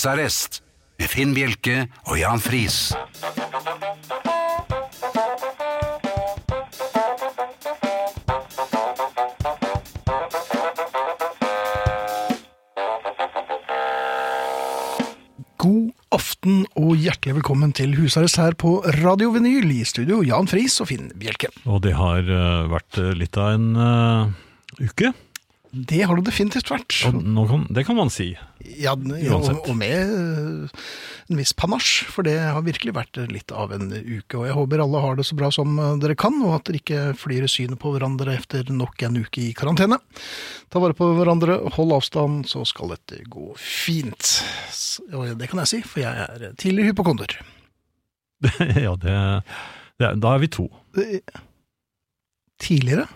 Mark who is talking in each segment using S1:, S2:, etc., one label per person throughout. S1: Husarrest med Finn Bjelke og Jan Friis.
S2: God aften og hjertelig velkommen til husarrest her på Radio Vinyl i studio, Jan Friis og Finn Bjelke.
S3: Og det har eh, vært eh, litt av en eh, uke.
S2: Det har det definitivt vært.
S3: Og nå kan, det kan man si.
S2: Ja, og,
S3: Uansett.
S2: og med eh, en viss panasje, for det har virkelig vært litt av en uke. Og jeg håper alle har det så bra som eh, dere kan, og at dere ikke flyr i synet på hverandre etter nok en uke i karantene. Ta vare på hverandre, hold avstand, så skal dette gå fint. S- Og det kan jeg si, for jeg er tidligere hypokonder.
S3: ja, det, det, da er vi to.
S2: Eh, Tidligere?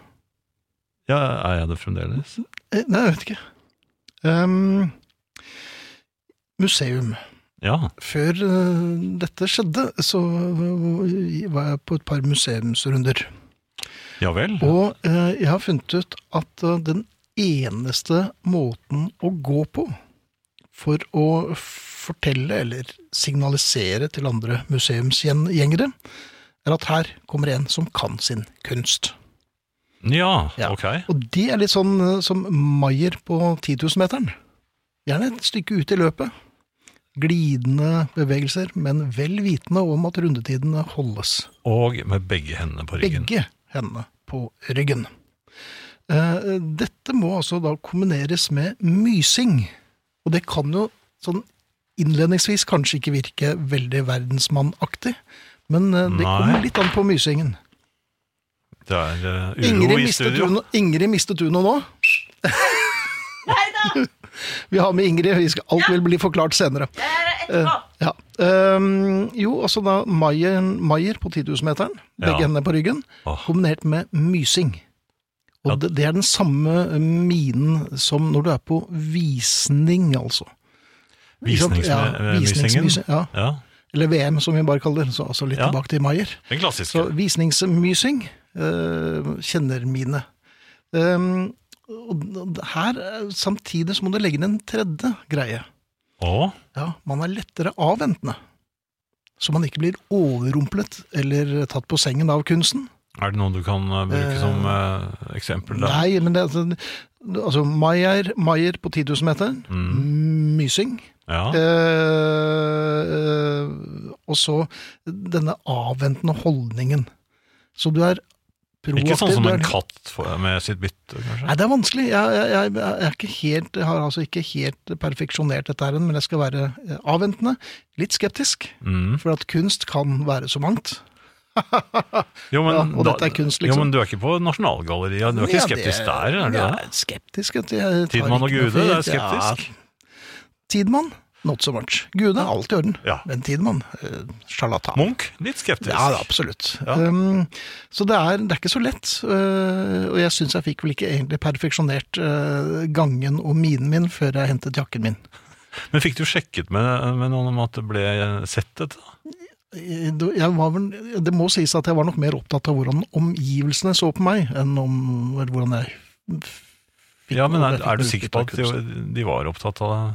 S3: Ja, er jeg det fremdeles?
S2: Eh, Nei, jeg vet ikke. Ehm, museum.
S3: Ja.
S2: Før eh, dette skjedde, så eh, var jeg på et par museumsrunder.
S3: Ja vel.
S2: Og eh, jeg har funnet ut at eh, den eneste måten å gå på for å fortelle eller signalisere til andre museumsgjengere, er at her kommer en som kan sin kunst.
S3: Ja,
S2: Ja.
S3: ok.
S2: Og det er litt sånn eh, som Maier på 10 000-meteren. Gjerne et stykke ut i løpet. Glidende bevegelser, men vel vitende om at rundetidene holdes.
S3: Og med begge hendene på ryggen.
S2: Begge hendene på ryggen. Eh, Dette må altså da kombineres med mysing. Og det kan jo sånn innledningsvis kanskje ikke virke veldig verdensmannaktig, men eh, det
S3: Nei.
S2: kommer litt an på mysingen.
S3: Det er eh, uro
S2: Ingrid
S3: i
S2: mistet,
S3: studio.
S2: hun, Ingrid mistet hun nå.
S4: Nei da!
S2: Eh, Vi har med Ingrid, vi skal, alt vil bli forklart senere.
S4: Det er
S5: Eh,
S4: etterpå.
S2: Ja. Ehm, jo, altså da Maier, Maier på 10 000-meteren, begge
S3: Ja.
S2: hendene på ryggen,
S3: Åh.
S2: kombinert med mysing. Og
S3: Ja.
S2: det, det er den samme minen som når du er på visning, altså. Ikke sant? ja,
S3: Visningsmysingen.
S2: visningsmysing, ja.
S3: Ja.
S2: Eller VM, som vi bare kaller det. Så, altså litt
S3: Ja.
S2: tilbake til Maier.
S3: Den klassiske.
S2: Så visningsmysing eh, kjenner mine. Ehm, og her, eh, samtidig så må du legge inn en tredje greie.
S3: Å,
S2: Ja, man er lettere avventende. Så man ikke blir overrumplet eller tatt på sengen av kunsten.
S3: er det noen du kan eh, bruke
S2: Eh,
S3: som eh, eksempel? Da?
S2: Nei, men det altså, altså Maier, Maier på 10 000 meter, mysing.
S3: Mm. Ja.
S2: Eh, og så denne avventende holdningen. Så du er proaktiv.
S3: Ikke sånn som
S2: du
S3: en
S2: er-
S3: katt for- med sitt bytte, kanskje?
S2: Nei, det er vanskelig. Jeg, jeg, jeg, jeg, er ikke helt, jeg har altså ikke helt perfeksjonert dette, her, men jeg skal være eh, avventende. Litt skeptisk,
S3: Mm.
S2: for at kunst kan være så mangt.
S3: Jo, men,
S2: Ja, og dette er kunst, liksom.
S3: Jo, men du er ikke på Nasjonalgalleriet, du er ikke
S2: Ja, det-
S3: skeptisk der, er du
S2: ja,
S3: det?
S2: Skeptisk. at jeg tar
S3: Tidmann og
S2: ikke noe
S3: Gude, det er
S2: for-
S3: skeptisk.
S2: Ja. Tidmann, not so much. Gude, alt i orden.
S3: Ja.
S2: Men Tidmann, eh, sjarlatan.
S3: Munch, litt skeptisk.
S2: Ja, da, absolutt.
S3: Ja.
S2: Um, så det er, det er ikke så lett. eh, og jeg syns jeg fikk vel ikke egentlig perfeksjonert eh, gangen og minen min før jeg hentet jakken min.
S3: Men fikk du sjekket med, med noen om at det ble sett dette?
S2: Eh, det- Jeg var vel, det må sies at jeg var nok mer opptatt av hvordan omgivelsene så på meg, enn om eller hvordan jeg fikk
S3: Ja, men
S2: noe-
S3: er,
S2: fikk
S3: er du
S2: noe
S3: sikker
S2: utbytte
S3: på
S2: av
S3: at
S2: kunsten.
S3: de, de var opptatt av det? var-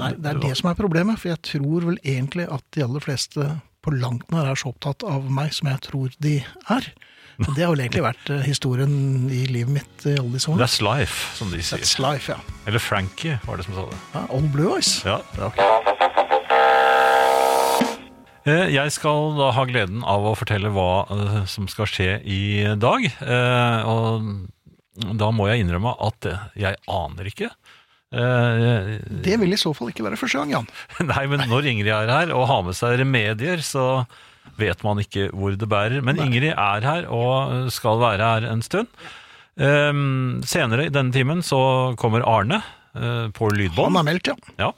S2: Nei, det er det
S3: var-
S2: som er problemet, for jeg tror vel egentlig at de aller fleste på langt nær er så opptatt av meg som jeg tror de er. Og Det har vel egentlig vært eh, historien i livet mitt i alle disse årene.
S3: That's life, som de sier.
S2: That's life, ja.
S3: Eller Frankie, var det som sa det.
S2: ja old blue eyes.
S3: Ja. Eh, Jeg skal da ha gleden av å fortelle hva eh, som skal skje i dag. Eh, Og da må jeg innrømme at eh, jeg aner ikke. Eh,
S2: Det vil i så fall ikke være første gang, Jan.
S3: Nei, men når Ingrid er her og har med seg remedier, så vet man ikke hvor det bærer. Men Ingrid er her og skal være her en stund. Ehm, senere i denne timen så kommer Arne eh, på
S2: Han
S3: lydbånd.
S2: er meldt, ja.
S3: Ja.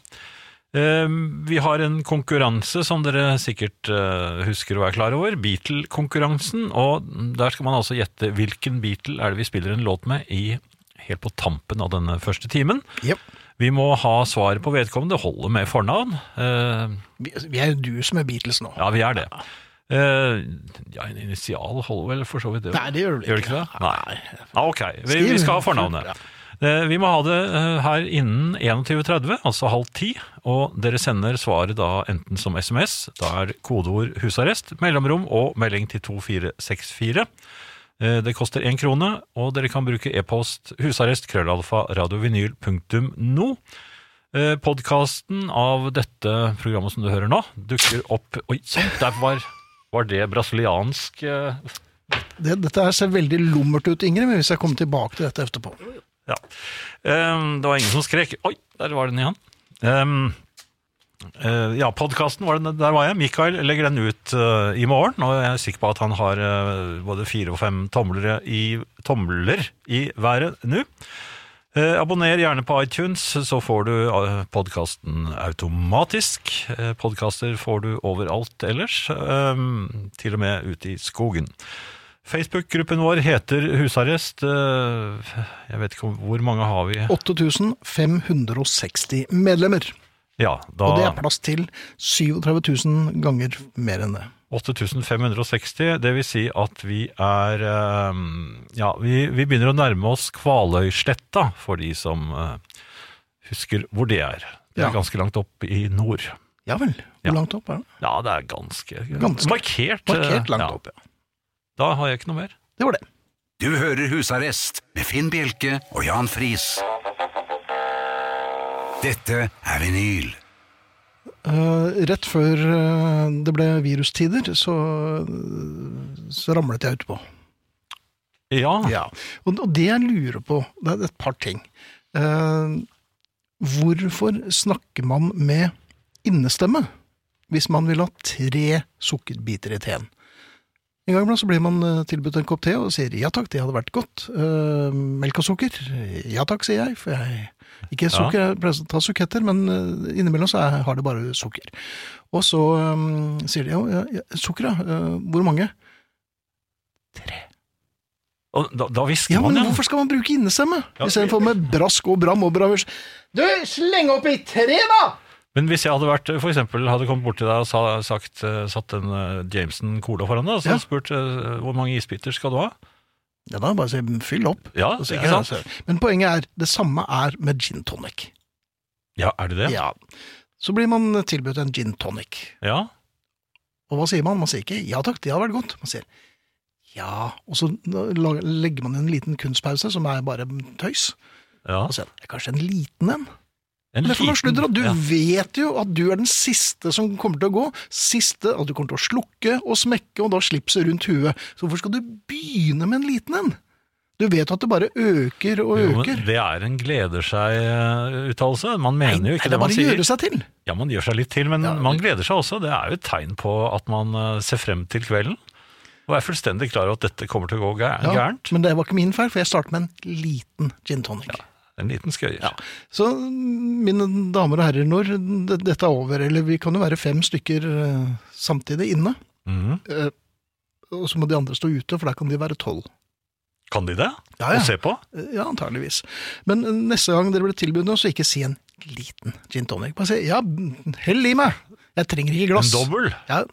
S3: Ehm, vi har en konkurranse som dere sikkert eh, husker å være klar over, Beatle-konkurransen. Og der skal man altså gjette hvilken Beatle er det vi spiller en låt med i helt på tampen av denne første timen.
S2: Jep.
S3: Vi må ha svaret på vedkommende. Det holder med fornavn. Eh,
S2: Vi, altså, vi er du som er Beatles nå.
S3: ja, vi er det. Eh, ja, en initial holder vel for så vidt det.
S2: Nei, det gjør du vel
S3: Gjør det ikke det? Nei. Ja, ok, vi,
S2: Skriv.
S3: vi skal ha fornavnet. Eh, Vi må ha det eh, her innen 21.30, altså halv ti. Og dere sender svaret da enten som SMS, da er kodeord 'husarrest', mellomrom og melding til 2464. Eh, Det koster én krone, og dere kan bruke e-post husarrest krøllalfa radiovinyl.no. Podkasten Eh, av dette programmet som du hører nå, dukker opp Oi, sånn! Der var, var det brasiliansk eh,
S2: Det, dette her ser veldig lummert ut, Ingrid, men hvis jeg kommer tilbake til dette etterpå.
S3: Ja. Ehm, det var ingen som skrek. Oi, der var den igjen. Ehm, eh, ja, podkasten, der var jeg. Mikael legger den ut eh, i morgen, og jeg er sikker på at han har eh, både fire og fem tomler i, tomler i været nå. Eh, abonner gjerne på iTunes, så får du eh, podkasten automatisk. Eh, Podkaster får du overalt ellers, ehm, til og med ute i skogen. Facebook-gruppen vår heter Husarrest. Eh, Jeg vet ikke om- hvor mange har vi?
S2: 8560 medlemmer.
S3: Ja,
S2: Og det er
S3: da
S2: plass til 37 000 ganger mer enn det.
S3: 8560. Det vil si at vi er eh, Ja, vi, vi begynner å nærme oss Kvaløysletta, for de som eh, husker hvor det er. Det er
S2: Ja.
S3: ganske langt opp i nord.
S2: Ja vel. Hvor
S3: Ja.
S2: langt opp er det?
S3: Ja, det er ganske,
S2: Ganske.
S3: markert. eh,
S2: Markert langt
S3: ja.
S2: opp, ja.
S3: Da har jeg ikke noe mer.
S2: Det var det.
S1: Du hører Husarrest med Finn Bjelke og Jan Friis. Dette er vinyl.
S2: Eh, rett før eh, det ble virustider, så, eh, så ramlet jeg utpå.
S3: Ja.
S2: Ja. Og, og det jeg lurer på, det er et par ting. Eh, hvorfor snakker man med innestemme hvis man vil ha tre sukkerbiter i teen? En gang iblant så blir man eh, tilbudt en kopp te og sier ja takk, det hadde vært godt. Eh, melk og sukker? Ja takk, sier jeg. For jeg ikke sukker, jeg pleier å ta suketter, men eh, innimellom så er- har det bare sukker. Og så eh, sier de ja, ja, ja, sukker, ja. eh, hvor mange?
S3: Og da, da hvisker
S2: Ja,
S3: man,
S2: men
S3: ja.
S2: hvorfor skal man bruke innestemme?
S3: Ja,
S2: Istedenfor med brask og bram og bravers. Du, sleng opp i tre, da!
S3: Men hvis jeg hadde vært, eh, for eksempel, hadde kommet bort til deg og sa, sagt, eh, satt en eh, Jameson Cola foran deg, og så
S2: Ja.
S3: hadde jeg spurt eh, hvor mange isbiter skal du ha?
S2: Ja, da bare si fyll opp.
S3: Ja,
S2: Altså,
S3: ikke
S2: ikke
S3: sant?
S2: sant? Men poenget er, det samme er med gin tonic.
S3: Ja, er det det?
S2: Ja. Så blir man tilbudt en gin tonic.
S3: Ja.
S2: Og hva sier man? Man sier ikke 'ja takk, det hadde vært godt'. Man sier ja, og så la- legger man en liten kunstpause som er bare tøys.
S3: ja.
S2: Og så, sier man, kanskje en liten en?
S3: En
S2: Men for noe sludder, at Du
S3: ja.
S2: vet jo at du er den siste som kommer til å gå. Siste at du kommer til å slukke og smekke, og da slipset rundt huet. Så hvorfor skal du begynne med en liten en? Du vet at det bare øker og
S3: Jo, men
S2: øker.
S3: det er en gleder seg-uttalelse. Man
S2: Nei,
S3: mener jo
S2: nei,
S3: ikke
S2: det
S3: det,
S2: er
S3: man
S2: bare å
S3: sier.
S2: gjøre seg til.
S3: Ja, man gjør seg litt til, men
S2: Ja,
S3: man gleder seg også. Det er jo et tegn på at man eh, ser frem til kvelden, og er fullstendig klar over at dette kommer til å gå gæ-
S2: Ja,
S3: gærent.
S2: men det var ikke min feil, for jeg startet med en liten gin tonic.
S3: En liten skøyer.
S2: Så mine damer og herrer, når d- dette er over, eller vi kan jo være fem stykker eh, samtidig inne,
S3: Mhm.
S2: eh, og så må de andre stå ute, for der kan de være tolv.
S3: Kan de det?
S2: Ja, ja.
S3: Og se på?
S2: Eh, Ja, antageligvis. Men eh, neste gang dere blir tilbudt noe, så ikke si en liten gin tonic. Bare si ja, hell i meg! Jeg trenger ikke
S3: En
S2: glass.
S3: dobbel?
S2: Ja,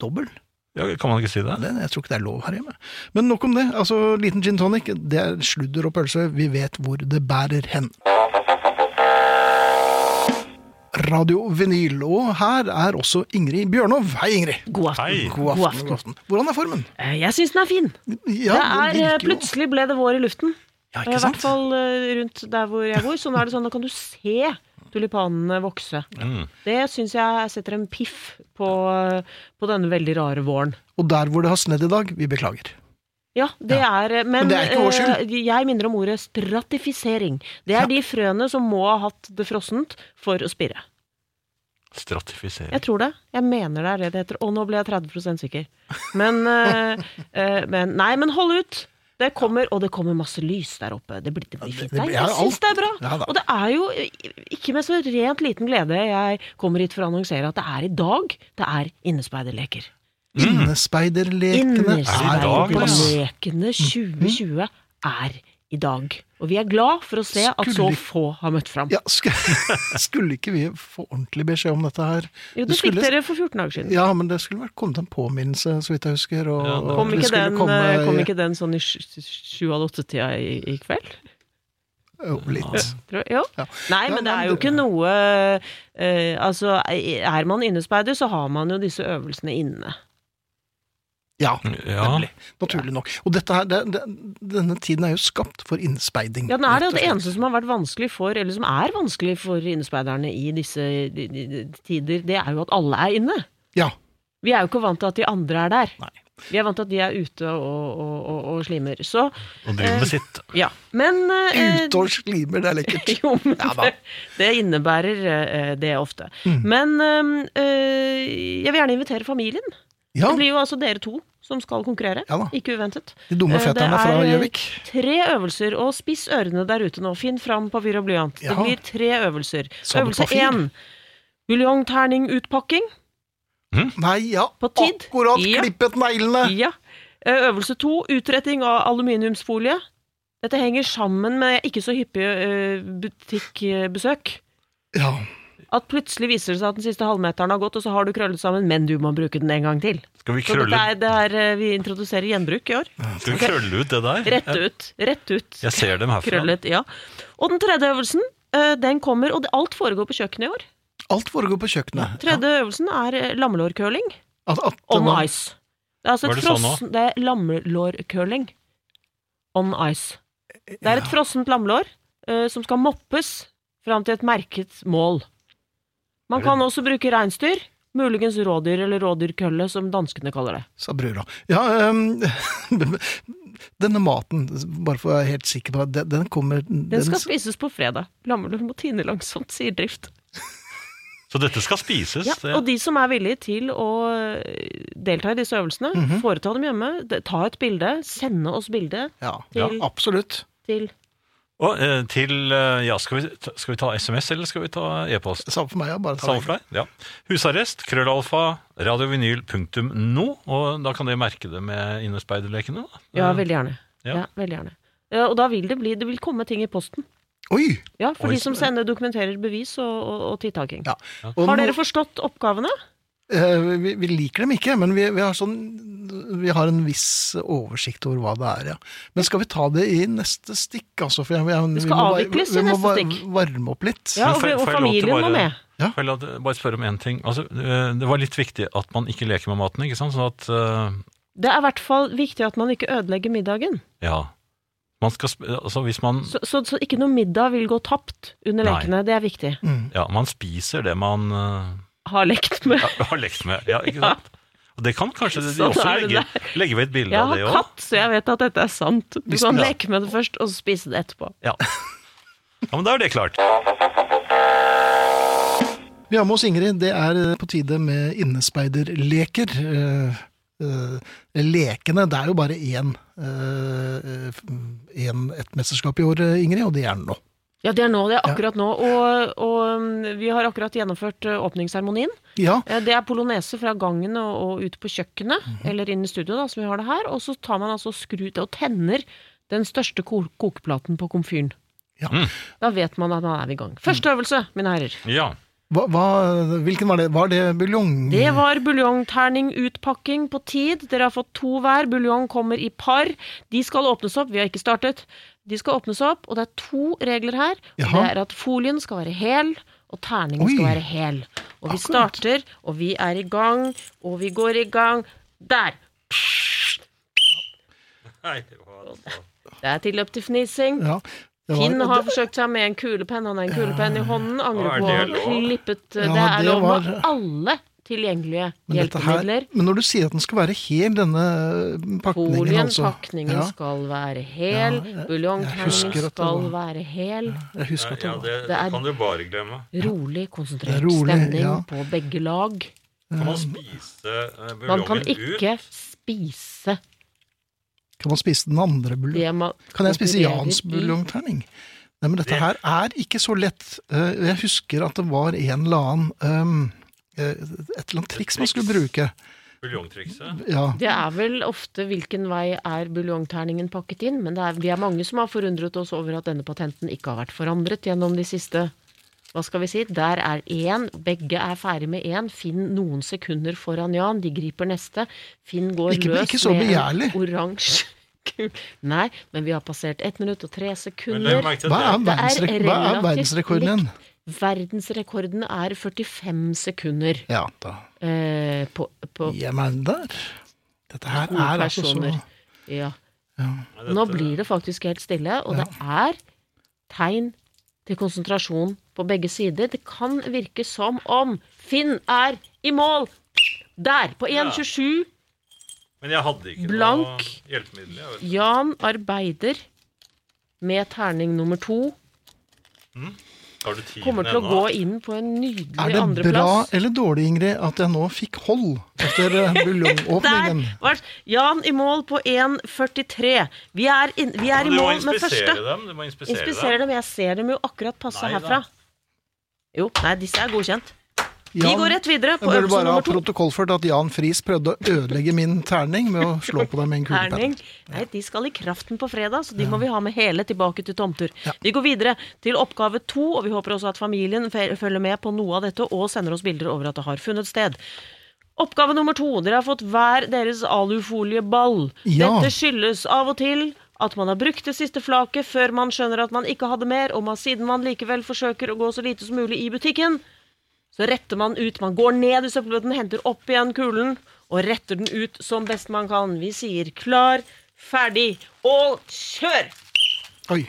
S2: dobbel?
S3: Ja, kan man ikke si det?
S2: Det, jeg tror ikke det er lov her hjemme. Men nok om det. Altså, Liten gin tonic, det er sludder og pølse. Vi vet hvor det bærer hen. Radio Vinyl, og her er også Ingrid Bjørnov. Hei, Ingrid.
S5: God aften.
S3: Hei.
S2: God aften. God aften. Hvordan er formen?
S5: Eh, Jeg syns den er fin.
S2: Ja,
S5: det er, eh,
S2: virker jo-
S5: plutselig ble det vår i luften.
S2: Ja,
S5: I
S2: ikke
S5: hvert
S2: sant?
S5: fall eh, rundt der hvor jeg bor. Så nå er det sånn, nå kan du se tulipanene vokse.
S3: Mm.
S5: Det syns jeg setter en piff på, eh, på denne veldig rare våren.
S2: Og der hvor det har snedd i dag, vi beklager.
S5: Ja, det er eh, Men,
S2: Men det er ikke vår skyld.
S5: eh, jeg minner om ordet stratifisering. Det
S2: Ja.
S5: er de frøene som må ha hatt det frossent for å spirre.
S3: Stratifisering.
S5: Jeg tror det. Jeg mener det er det det heter. Og nå ble jeg 30 sikker. Men, eh, eh, men Nei, men hold ut! Det kommer, og det kommer masse lys der oppe. Det blir, det blir
S2: Ja, det-
S5: fint.
S2: det
S5: Nei,
S2: blir-
S5: jeg
S2: ja,
S5: syns det er bra.
S2: Ja da.
S5: Og det er jo eh, ikke med så rent liten glede jeg kommer hit for å annonsere at det er i dag det er innespeiderleker.
S3: Mm.
S2: Innespeiderlekene er
S3: dag,
S2: på plass.
S3: ja.
S2: Mm.
S5: Innespeiderlekene 2020 er i dag. Og vi er glad for å se at så
S2: Skulle-
S5: få har møtt fram.
S2: Ja, sk skulle ikke vi få ordentlig beskjed om dette her?
S5: Jo, det fikk
S2: skulle-
S5: dere for 14 dager siden.
S2: Ja, men det skulle vært kommet en påminnelse, så vidt jeg husker. Og,
S3: Ja, det-
S2: og
S5: Kom
S2: det
S5: ikke,
S2: skulle
S5: den,
S2: komme
S5: eh, kom
S2: i-
S5: ikke den sånn i sju- sju- sju av åtte-tida i, i kveld?
S2: Jo, litt.
S5: Tror, jo.
S2: Ja.
S5: Nei,
S2: Ja,
S5: men det
S2: nei,
S5: er jo
S2: det-
S5: ikke noe eh, Altså, er man innespeider, så har man jo disse øvelsene inne.
S2: Ja,
S3: Ja.
S2: nemlig. Naturlig nok. Og dette her, det, det, denne tiden er jo skapt for innspeiding.
S5: Ja, den er det,
S2: rett
S5: og det
S2: og slett.
S5: eneste som har vært vanskelig for, eller som er vanskelig for innespeiderne i disse de, de, de, tider, det er jo at alle er inne.
S2: Ja,
S5: Vi er jo ikke vant til at de andre er der.
S2: Nei.
S5: Vi er vant til at de er ute og, og, og, og slimer. Så,
S3: Og driver
S5: Eh,
S3: med sitt.
S5: ja. Men eh,
S2: Ute og slimer, det er lekkert.
S5: Jo, men
S2: Ja Mm. da.
S5: det, det innebærer eh, det ofte. Men eh, eh, jeg vil gjerne invitere familien.
S2: Ja,
S5: Det blir jo altså dere to som skal konkurrere.
S2: Ja da.
S5: Ikke uventet.
S2: de dumme
S5: Eh, det
S2: fetterne fra
S5: er, eh,
S2: Gjøvik.
S5: Tre øvelser, og spiss ørene der ute nå. Finn fram papir og blyant. Det
S2: Ja.
S5: blir tre øvelser.
S2: Sa du
S5: Øvelse
S2: papir?
S5: én. Buljongterningutpakking.
S2: Nei, ja,
S5: på tid.
S2: akkurat
S5: Ja.
S2: klippet neglene!
S5: Ja. Eh, Øvelse to. Utretting av aluminiumsfolie. Dette henger sammen med ikke så hyppige eh, butikkbesøk.
S2: Ja,
S5: At plutselig viser det seg at den siste halvmeteren har gått, og så har du krøllet sammen, men du må bruke den en gang til.
S3: Skal vi
S5: Så dette
S3: krølle,
S5: er, det er, eh, vi introduserer gjenbruk i år.
S3: skal vi krølle ut det der?
S5: Rett ut. Rett ut.
S3: Jeg ser dem herfra.
S5: Krøllet, ja. Og den tredje øvelsen, eh, den kommer, og det- alt foregår på kjøkkenet i år.
S2: alt foregår på kjøkkenet.
S5: Tredje øvelsen er eh, lammelårkøling
S2: At, at
S5: on
S2: denne-
S5: ice. Det er altså
S3: Var
S5: et
S3: det sånn
S5: frossen, det er lammelårkøling on ice. Det er et frossent lammelår eh, som skal moppes fram til et merket mål. Man kan også bruke reinsdyr, muligens rådyr eller rådyrkølle, som danskene kaller det.
S2: sa brura. Ja, ehm, denne maten, bare for å være helt sikker på at den, den kommer
S5: Den skal spises på fredag. Lammelår må tine langsomt, sier Drift.
S3: Så dette skal spises.
S5: Ja,
S3: det-
S5: og de som er villige til å eh, delta i disse øvelsene, foreta dem hjemme, de- ta et bilde, sende oss bilde
S2: Ja,
S5: til,
S2: absolutt.
S5: til
S3: Og eh, til eh, Ja, skal vi, ta- skal vi ta SMS, eller skal vi ta e-post?
S2: Samme for meg. ja, Bare ta
S3: Samme for deg? Ja. Husarrest, krøllalfa, radiovinyl.no, og da kan dere merke det med innespeiderlekene, da.
S5: Ja, veldig gjerne.
S3: Eh, Ja.
S5: Ja. veldig gjerne. Eh, Og da vil det bli Det vil komme ting i posten.
S2: Oi!
S5: Ja, for
S3: Oi,
S5: de som
S3: så-
S5: sender dokumenterer bevis og, og, og tiltaking.
S2: Ja. Og
S5: Har dere
S2: nå-
S5: forstått oppgavene?
S2: eh, vi, vi liker dem ikke, men vi, vi, har sånn, vi har en viss oversikt over hva det er, ja. Men skal vi ta det i neste stikk, altså? For jeg, jeg,
S5: Det
S2: vi
S5: skal
S2: må bare-
S5: avvikles i
S2: vi må
S5: neste
S2: bare
S5: stikk.
S2: Varme opp litt.
S5: Ja,
S3: Men
S5: og,
S3: får- får jeg
S5: og
S3: lov til
S5: familien
S3: bare-
S5: må med.
S2: Ja.
S3: Vel, at- bare spørre om én ting. Altså, eh, det var litt viktig at man ikke leker med maten, ikke sant? Sånn at eh,
S5: Det er i hvert fall viktig at man ikke ødelegger middagen.
S3: Ja. Man skal sp altså, hvis man
S5: Så, så, så ikke noe middag vil gå tapt under
S3: Nei.
S5: lekene. Det er viktig.
S2: Mm.
S3: Ja, man spiser det man eh,
S5: Ha lekt med.
S3: har- har lekt med. Ja, ikke
S5: Ja.
S3: sant? Og det kan kanskje de
S5: Sånn
S3: også
S5: er det
S3: legge, legge ved et bilde
S5: Jeg
S3: av det
S5: har
S3: òg.
S5: katt, så jeg vet at dette er sant. Du
S2: Hvis-
S5: kan
S2: ja.
S5: leke med det først, og så spise det etterpå.
S3: Ja. ja, men da er det klart.
S2: Vi har med oss Ingrid. Det er eh, på tide med innespeiderleker. Eh, eh, lekene Det er jo bare én, eh, eh, f- én- et mesterskap i år, eh, Ingrid, og det er nå.
S5: Ja, det er nå. Det er akkurat nå. Og, og um, vi har akkurat gjennomført uh, åpningsseremonien.
S2: Ja,
S5: Eh, Det er polonese fra gangen og, og ut på kjøkkenet, eller inn i studio, da, som vi har det her. Og så tar man altså og skrur til og tenner den største ko kokeplaten på komfyren.
S2: Ja.
S5: Da vet man at man er i gang. Første øvelse, mine herrer.
S3: Ja.
S2: hva, hva, hvilken var det? Var det buljong?
S5: Det var buljongterningutpakking på tid. Dere har fått to hver. Buljong kommer i par. De skal åpnes opp. Vi har ikke startet. De skal åpnes opp, og det er to regler her. Og
S2: Jaha.
S5: Det er at folien skal være hel, og terningen
S2: Oi.
S5: skal være hel. Og vi
S2: Akkurat.
S5: starter, og vi er i gang, og vi går i gang. Der! Det er tilløp til fnising.
S2: Ja, det var-
S5: Finn har forsøkt seg med en kulepenn. Han har en kulepenn i hånden.
S3: Å,
S5: Angrer
S3: er
S5: på å ha
S3: det lov?
S5: klippet Det
S2: Ja,
S5: er
S2: det
S5: lov med
S2: var-
S5: alle tilgjengelige
S2: men dette
S5: hjelpemidler.
S2: Her, men når du sier at den skal være hel, denne eh, pakningen
S5: Folien,
S2: altså.
S5: pakningen
S2: ja,
S5: skal være hel,
S2: Ja, jeg- jeg husker at
S5: buljongterningen
S2: det
S5: skal
S2: var-
S5: være hel.
S2: Jeg husker at det var
S5: Det er- kan
S3: du bare glemme.
S5: Rolig,
S2: Det
S5: konsentrert
S2: er rolig,
S5: stemning
S2: ja.
S5: på begge lag.
S3: Kan man spise
S5: Mm.
S3: eh,
S5: Man kan ikke spise
S2: Kan man spise den andre buljongen?
S5: det man
S2: Kan jeg spise
S5: konkurrerer
S2: Jans
S5: i.
S2: buljongterning? Nei, men dette her er ikke så lett. Eh, Jeg husker at det var en eller annen ehm, eh, Et eller annet triks man skulle bruke.
S3: buljongtrikset?
S2: Ja.
S5: Det er vel ofte hvilken vei er buljongterningen pakket inn, men det er, vi er mange som har forundret oss over at denne patenten ikke har vært forandret gjennom de siste hva skal vi si? Der er én, begge er ferdig med én. Finn noen sekunder foran Jan, de griper neste. Finn går
S2: Ikke-
S5: løs
S2: ikke så
S5: med en
S2: begjærlig.
S5: oransje Kul. Nei, men vi har passert 1 minutt og 3
S2: Hva
S5: sekunder.
S2: er,
S3: Hva
S5: Det er
S2: verdensrek hva er
S5: relativt
S2: verdensrekorden igjen?
S5: Verdensrekorden er 45 sekunder
S2: Ja, da
S5: eh, på, på
S2: gir jeg meg der. Dette her
S5: Gode
S2: er altså så
S5: personer. ja.
S2: ja.
S5: Nå blir det faktisk helt stille, og det er tegn til konsentrasjon på begge sider. Det kan virke som om Finn er i mål! Der! På
S3: Ja.
S5: 1,27.
S3: Men jeg hadde ikke
S5: Blank.
S3: noe hjelpemiddel. Jeg vet.
S5: Jan arbeider med terning nummer to.
S3: Har du tiden
S5: Kommer til å
S3: ennå?
S5: gå inn på en
S2: Er
S5: nydelig
S2: det bra
S5: andreplass.
S2: eller dårlig, Ingrid, at jeg nå fikk hold etter eh,
S5: Der
S2: buljongåpningen?
S5: var Jan i mål på 1,43. Vi er, inn, vi er
S3: Men
S5: i
S3: du må
S5: mål med
S3: inspisere
S5: første.
S3: dem. Du må inspisere,
S5: Inspiserer
S3: dem.
S5: dem. Jeg ser dem jo akkurat passe
S3: Nei da.
S5: herfra. Jo, nei, disse er godkjent. Vi
S2: Jan,
S5: går rett videre på
S2: Jeg burde
S5: øvelse
S2: bare ha
S5: nummer to.
S2: protokollført at Jan Friis prøvde å ødelegge min terning med å slå på deg med en kulepenn.
S5: Erning. Nei, de skal i Kraften på fredag, så de må vi ha med hele tilbake til tomter. Vi går videre til oppgave to, og vi håper også at familien fe- følger med på noe av dette og sender oss bilder over at det har funnet sted. Oppgave nummer to. Dere har fått hver deres alufolieball.
S2: Ja.
S5: Dette skyldes av og til at man har brukt det siste flaket før man skjønner at man ikke hadde mer, og man, siden man likevel forsøker å gå så lite som mulig i butikken, så retter man ut. Man går ned i søppelbøtten, henter opp igjen kulen og retter den ut som best man kan. Vi sier klar, ferdig og kjør!
S2: Oi.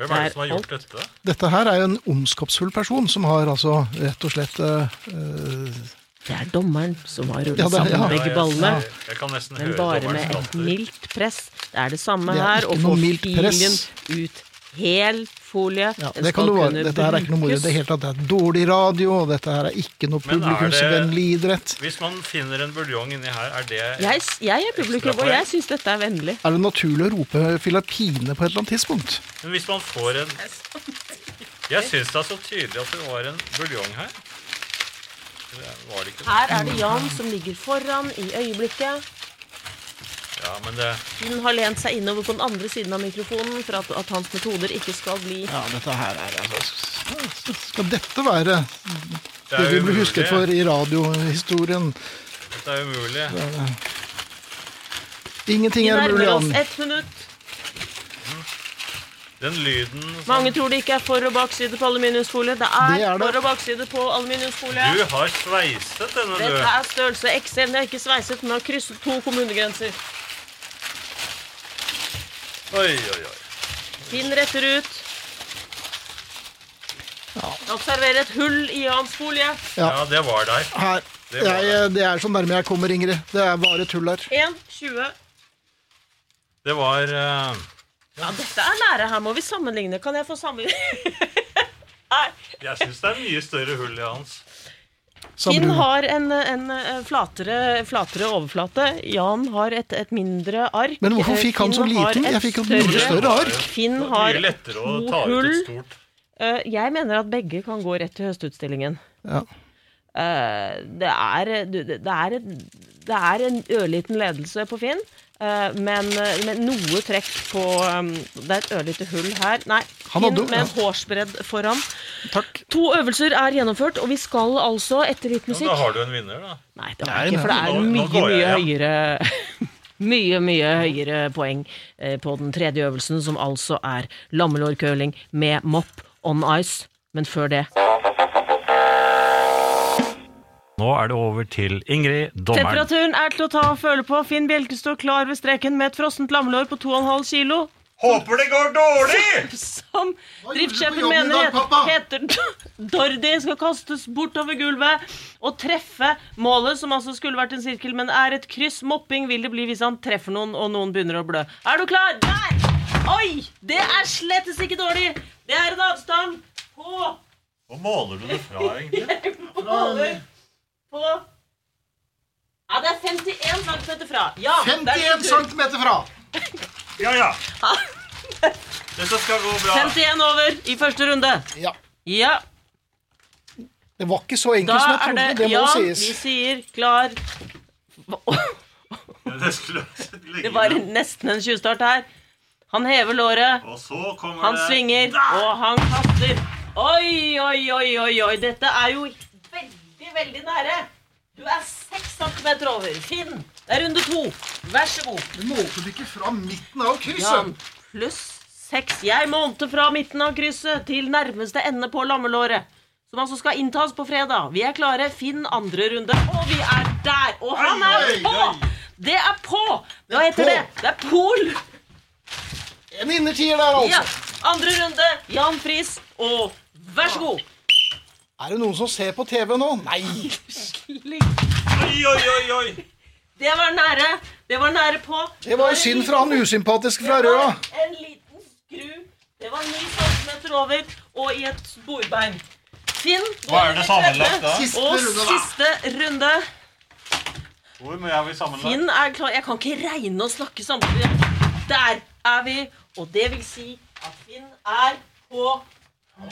S3: Hvem er
S5: Der,
S3: det som har gjort dette?
S2: Dette her er jo en ondskapsfull person som har altså rett og slett eh, eh,
S5: Det er dommeren som har rullet
S2: Ja, det-
S5: sammen
S2: ja.
S5: begge ballene.
S3: Jeg, jeg kan nesten
S5: Men
S3: høre
S5: bare
S3: dommerens
S5: med et
S3: latter.
S5: mildt press. Det er det samme
S2: Det er
S5: her.
S2: ikke
S5: Å
S2: noe
S5: få
S2: mildt
S5: filen
S2: press.
S5: ut. Hel folie.
S2: ja,
S5: Den
S2: det kan
S5: skal
S2: du være.
S5: kunne
S2: Dette her er ikke noe moro i det
S5: brukes.
S2: hele tatt. Det er dårlig radio, og dette her er ikke noe
S3: Men er det-
S2: publikumsvennlig idrett.
S3: Hvis man finner en buljong inni her, er det
S5: Jeg, s- jeg er publikum, og jeg syns dette er vennlig.
S2: Er det naturlig å rope Filippine på et eller annet tidspunkt?
S3: Men hvis man får en Jeg syns det er så tydelig at det var en buljong her. Det var det ikke det?
S5: Her er det Jan som ligger foran i øyeblikket.
S3: Ja, men det
S5: Hun har lent seg innover på den andre siden av mikrofonen for at, at hans metoder ikke skal bli
S2: Ja, dette her er altså Skal dette være
S3: Det
S2: det
S3: er
S2: vi
S3: umulig.
S2: blir husket for i radiohistorien?
S3: Det er umulig.
S5: Vi
S2: Ingenting er mulig,
S5: nærmer oss
S2: Jan.
S5: ett minutt.
S3: Den lyden som
S5: Mange tror det ikke er for- og bakside på aluminiumsfolie. Det er,
S2: Det er det.
S5: for- og bakside på aluminiumsfolie.
S3: Du har sveiset denne, du.
S5: Dette er størrelse XL. Den er ikke sveiset, den har krysset to kommunegrenser.
S3: Oi, oi, oi.
S5: Finn retter ut. Observer et hull i Jans folie.
S2: Ja.
S3: Ja, det var der.
S2: Her.
S3: Det var
S2: Jeg, det er så nærme jeg kommer, Ingrid. Det er bare tull her.
S5: 1, 20.
S3: Det var eh,
S5: Ja, dette er nære. Her må vi sammenligne. Kan jeg få sammenligne? Nei.
S3: Jeg syns det er mye større hull i hans.
S2: sa
S5: Finn
S2: Bruno.
S5: har en, en eh, flatere, flatere overflate. Jan har et, et mindre ark.
S2: Men hvorfor
S5: Eh,
S2: fikk han så
S5: Finn har
S2: liten?
S5: et
S2: Jeg fikk jo et mye
S3: større ark.
S5: Finn
S3: Det var
S5: har
S3: mye lettere å
S5: to
S3: ta ut
S5: hull.
S3: et stort
S5: Eh, Jeg mener at begge kan gå rett til høstutstillingen.
S2: Ja.
S5: Eh, det er, du- det er, en- det er en ørliten ledelse på Finn, eh, men eh, med noe trekk på um, Det er et ørlite hull her. Nei,
S2: Han
S5: Finn
S2: hadde-
S5: med en hårsbredd foran.
S2: Takk.
S5: To øvelser er gjennomførrt, og vi skal altså etter litt
S3: Ja, Da
S5: musikk
S3: har du en vinner, da.
S5: Nei, det
S2: Nei,
S5: har jeg ikke, for det
S2: nei,
S5: er
S3: nå- nå
S5: mye,
S3: går
S5: mye
S3: jeg
S5: høyere Mye, mye høyere poeng eh, på den tredje øvelsen, som altså er lammelårcurling med mopp on ice. Men før det
S3: Nå er det over til Ingrid, dommeren.
S5: Temperaturen er til å ta og føle på. Finn Bjelke står klar ved streken med et frossent lammelår på 2,5 kilo.
S3: Håper det går dårlig!
S2: Hva
S5: Som
S2: gjorde du på
S5: driftssjefen
S2: jobben i
S5: mener
S2: dag, pappa?
S5: heter Dordi, skal kastes bortover gulvet og treffe målet, som altså skulle vært en sirkel, men er et kryss. Mopping vil det bli hvis han treffer noen, og noen begynner å blø. Er du klar? Der! Oi! Det er slettes ikke dårlig. Det er en avstand på
S3: Hvor måler du det fra, egentlig?
S5: måler på Ja, det er 51 cm fra. Ja, det er din tur.
S2: fra!
S3: Ja, ja. Dette skal gå bra.
S5: 51 over i første runde.
S2: Ja.
S5: Ja,
S2: Det var ikke så
S5: da
S2: enkelt som jeg
S5: er
S2: trodde.
S5: det
S2: Det må
S5: Ja,
S2: sies.
S5: vi sier klar.
S3: Ja, Det skulle ligge
S5: Det var
S3: der.
S5: nesten en tjuvstart her. Han hever låret,
S3: Og så kommer
S5: han
S3: det
S5: svinger, og han kaster. Oi, oi, oi, oi, oi. Dette er jo veldig, veldig nære. Du er 6 cm over. Finn, det er runde to. Vær så god.
S2: Du målte det ikke fra midten av
S5: Jan, pluss seks. Jeg målte fra midten av krysset til nærmeste ende på lammelåret. Som altså skal inntas på fredag. Vi er klare. Finn andre runde. Og vi er der! Og han er
S2: Oi, oi,
S5: på!
S2: oi.
S5: Det er på! Hva
S2: på.
S5: heter det? Det er pol!
S2: En innertier der, altså.
S5: Ja. Andre runde. Jan Friis, og vær så god.
S2: Er det noen som ser på TV nå? Nei.
S3: Oi, oi, oi, oi!
S5: Det var nære. Det var nære på.
S2: Det var jo synd for han usympatiske fra
S5: Det var
S2: Røa.
S5: En liten skru. Det var 9 cm over og i et sporbein. Finn går
S3: Hva er det
S5: i tredje,
S3: sammenlagt da?
S2: Siste
S5: Og
S2: runde, da.
S5: siste runde.
S3: Hvor mye er vi sammenlagt?
S5: Finn er klar. Jeg kan ikke regne og snakke samtidig. Der er vi. Og det vil si at Finn er på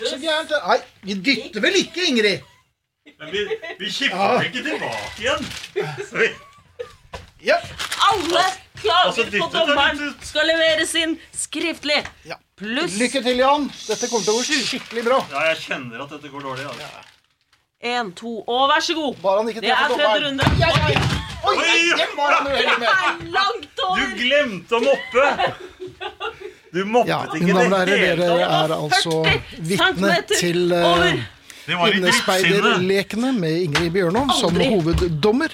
S2: Så gærent. Nei, vi dytter vel ikke, Ingrid?
S3: Men vi, vi
S2: Ja.
S3: kipper ikke tilbake igjen. Vi-
S2: Ja.
S5: Alle
S3: Altså,
S5: klager
S3: dyttet
S5: på
S3: er
S5: dommeren
S3: litt ut.
S5: skal leveres inn skriftlig.
S2: ja.
S5: Pluss
S2: Lykke til, Jan. Dette kommer til å gå skikkelig bra.
S3: Ja, jeg kjenner at dette går dårlig. Altså.
S5: én, to, og vær så god.
S2: Bare han ikke
S5: Det er
S2: treffer
S5: tredje
S2: dommeren.
S5: runde.
S2: Ja, ja, ja. Oi,
S3: Oi,
S2: nei, den var han uheldig
S5: Det
S2: med.
S5: er langt
S3: Du
S5: over.
S3: glemte å moppe! Du moppet
S2: Ja,
S3: ikke
S2: mine damer og
S3: det
S2: herrer,
S3: hele
S2: dere
S3: tatt.
S2: er altså
S5: 40
S2: vitne
S5: centimeter
S2: til eh,
S5: over.
S3: De var i drittsinne.
S2: Innespeiderlekene med Ingrid Bjørnov som
S5: Aldri.
S2: hoveddommer.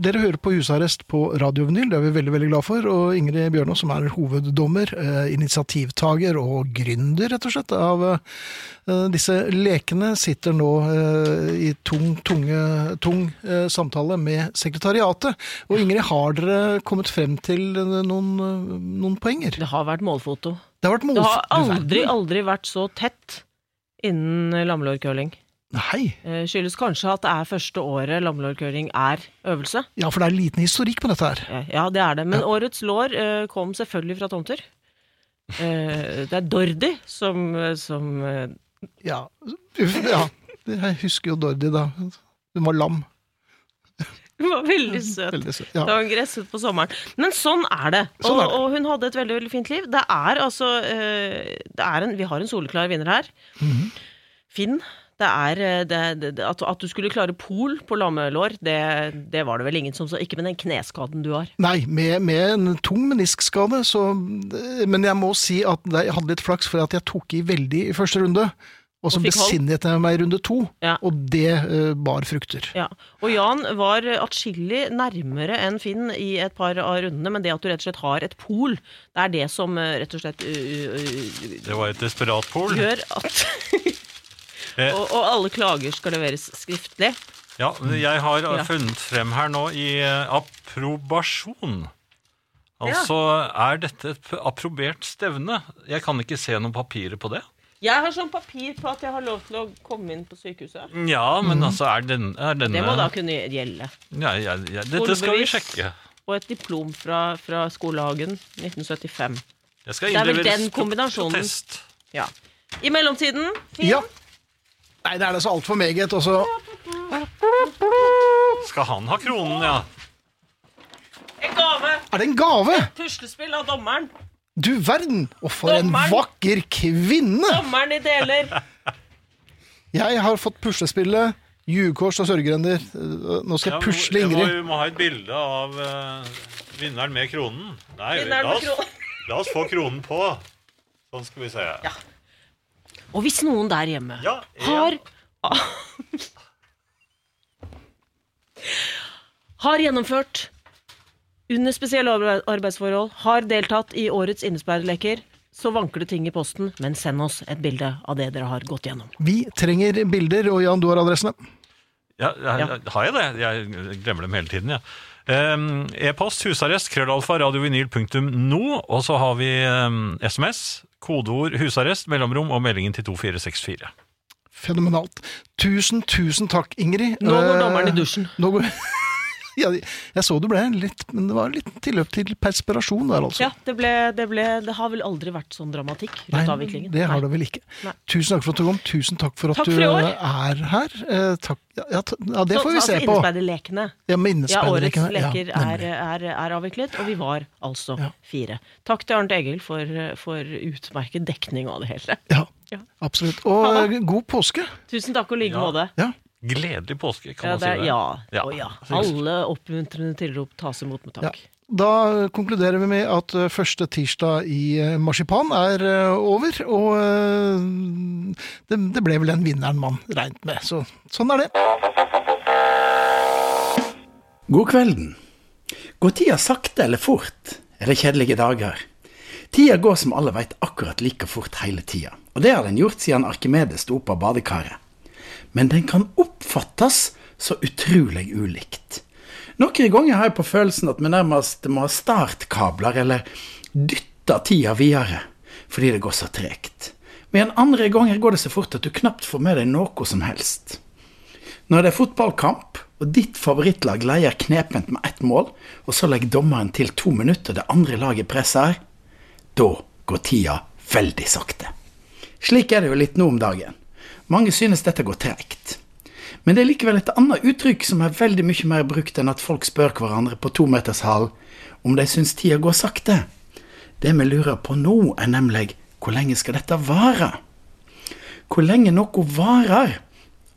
S2: Dere hører på Husarrest på Radio Vinyl, det er vi veldig veldig glad for. Og Ingrid Bjørnov som er hoveddommer, eh, initiativtager og gründer, rett og slett, av eh, disse lekene, sitter nå eh, i tung, tunge, tung eh, samtale med sekretariatet. Og Ingrid, har dere kommet frem til eh, noen, eh, noen poenger?
S5: Det har vært målfoto.
S2: Det har vært
S5: Det
S2: målf-
S5: har
S2: du
S5: aldri,
S2: verden.
S5: aldri vært så tett innen lammelårcurling.
S2: Nei.
S5: Eh, Skyldes kanskje at det er første året lammelårcurling er øvelse.
S2: Ja, for det er liten historikk på dette her.
S5: Eh, Ja, det er det. Men årets lår eh, kom selvfølgelig fra tomter. Eh, Det er Dordi som, eh, som eh,
S2: Ja. Uff, ja. Jeg husker jo Dordi, da. Hun var lam.
S5: var veldig søt.
S2: Veldig søt. Ja.
S5: Da hun gresset på sommeren. Men sånn er det. Og,
S2: Sånn er det.
S5: og hun hadde et veldig veldig fint liv. Det er altså eh, det er en, Vi har en soleklar vinner her.
S2: Mhm.
S5: Finn. Det er, eh, det, det, det- at, at du skulle klare pol på lammelår, det, det var det vel ingen som så. Ikke med den kneskaden du har.
S2: Nei, med, med en tung meniskskade, så Men jeg må si at jeg hadde litt flaks, for at jeg tok i veldig i første runde. Og så
S5: Og fikk hold.
S2: besinnet jeg meg i runde to,
S5: Ja.
S2: og det eh, bar frukter.
S5: Ja. Og Jan var atskillig nærmere enn Finn i et par av rundene, men det at du rett og slett har et pol, det er det som eh, rett og slett eh, eh,
S3: Det var et desperat pol.
S5: gjør at
S2: Eh.
S5: og, og alle klager skal leveres skriftlig.
S3: Ja, jeg har
S5: Ja.
S3: funnet frem her nå i eh, approbasjon. Altså, er dette et p- approbert stevne? Jeg kan ikke se noen papirer på det.
S5: Jeg har sånn papir på at jeg har lov til å komme inn på sykehuset.
S3: Ja, men altså, er, den, er denne
S5: Mhm. Det må da kunne gjelde.
S3: ja, ja, ja, Dette skal vi
S5: Skolebevis.
S3: sjekke.
S5: Og et diplom fra, fra skolehagen 1975.
S3: Jeg skal
S5: Det er vel
S3: innlevere
S5: den
S3: st-
S5: kombinasjonen.
S3: protest.
S5: Ja. I mellomtiden, Finn,
S2: Ja. Nei, det er da så altfor meget. Og så
S3: Skal han ha kronen, ja?
S5: en gave.
S2: er det en gave!
S5: Puslespill av dommeren.
S2: Du verden! Og for en
S5: Dommeren.
S2: vakker kvinne!
S5: Dommeren i deler.
S2: Jeg har fått puslespillet Jugekors og sørgegrender. Eh, Nå skal
S3: Ja,
S2: jeg
S3: men
S2: pusle
S3: jeg må-
S2: Ingrid.
S3: Vi må ha et bilde av eh, vinneren med kronen. Nei, la,
S5: Vinneren med
S3: oss,
S5: kronen.
S3: la oss få kronen på. Sånn skal vi se. Ja,
S5: Og hvis noen der hjemme
S3: en-
S5: har Har gjennomført under spesielle arbe- arbeidsforhold, har deltatt i årets innespeiderleker, så vanker det ting i posten, men send oss et bilde av det dere har gått gjennom.
S2: Vi trenger bilder, og Jan, du har adressene.
S3: Ja, ja, ja, har jeg det? Jeg glemmer dem hele tiden, jeg. Ja. Ehm, E-post husarrest krøllalfa radiovinyl.no, og så har vi ehm, em, SMS, kodeord husarrest, mellomrom og meldingen til 2464.
S2: Fenomenalt. Tusen, tusen takk, Ingrid.
S5: Nå går
S2: Eh,
S5: dommeren i dusjen.
S2: Nå går... ja, jeg så du ble litt Men det var litt tilløp til perspirasjon der, altså.
S5: Ja, det, ble, det, ble, det har vel aldri vært sånn dramatikk
S2: Nei,
S5: rundt avviklingen.
S2: det har
S5: Nei.
S2: det vel ikke.
S5: Nei.
S2: Tusen takk for at du kom. Tusen takk for at
S5: Takk for
S2: du
S5: i år.
S2: eh, er her. Eh, takk. Ja, Ja, ta- ja, det
S5: Så-
S2: får vi se
S5: så altså,
S2: på.
S5: Innespeiderlekene.
S2: Ja, med
S5: Ja, årets
S2: innespeiderlekene. Ja,
S5: leker er,
S2: nemlig.
S5: er, er avviklet, og vi var altså
S2: Ja.
S5: fire. Takk til Arnt Egil for, for utmerket dekning av det hele.
S2: Ja,
S5: Ja.
S2: absolutt. Og
S5: Ha
S2: eh, god påske.
S5: Tusen takk og i like
S3: Ja.
S5: måte.
S2: Ja.
S3: Gledelig påske, kan
S5: Ja,
S3: man si
S5: det, er-
S3: det.
S5: ja,
S3: Ja.
S5: Å, ja. Alle oppmuntrende tilrop tas imot med takk.
S2: Da konkluderer vi med at eh, første tirsdag i eh, marsipan er eh, over, og eh, det, det ble vel den vinneren man regnet med. Så sånn er det.
S6: God kvelden. Går tida sakte eller fort? Er det kjedelige dager? Tida går som alle veit akkurat like fort hele tida, og det har den gjort siden Arkimedes sto opp av badekaret. Men den kan oppfattes så utrolig ulikt. Noen ganger har jeg på følelsen at vi nærmest må ha startkabler, eller dytte tida videre, fordi det går så tregt. Men andre ganger går det så fort at du knapt får med deg noe som helst. Når det er fotballkamp, og ditt favorittlag leder knepent med ett mål, og så legger dommeren til to minutter det andre laget presser, da går tida veldig sakte. Slik er det jo litt nå om dagen. Mange synes dette går tregt. Men det er likevel et annet uttrykk som er veldig mye mer brukt enn at folk spør hverandre på tometershall om de synes tida går sakte. Det vi lurer på nå, er nemlig hvor lenge skal dette vare? Hvor lenge noe varer,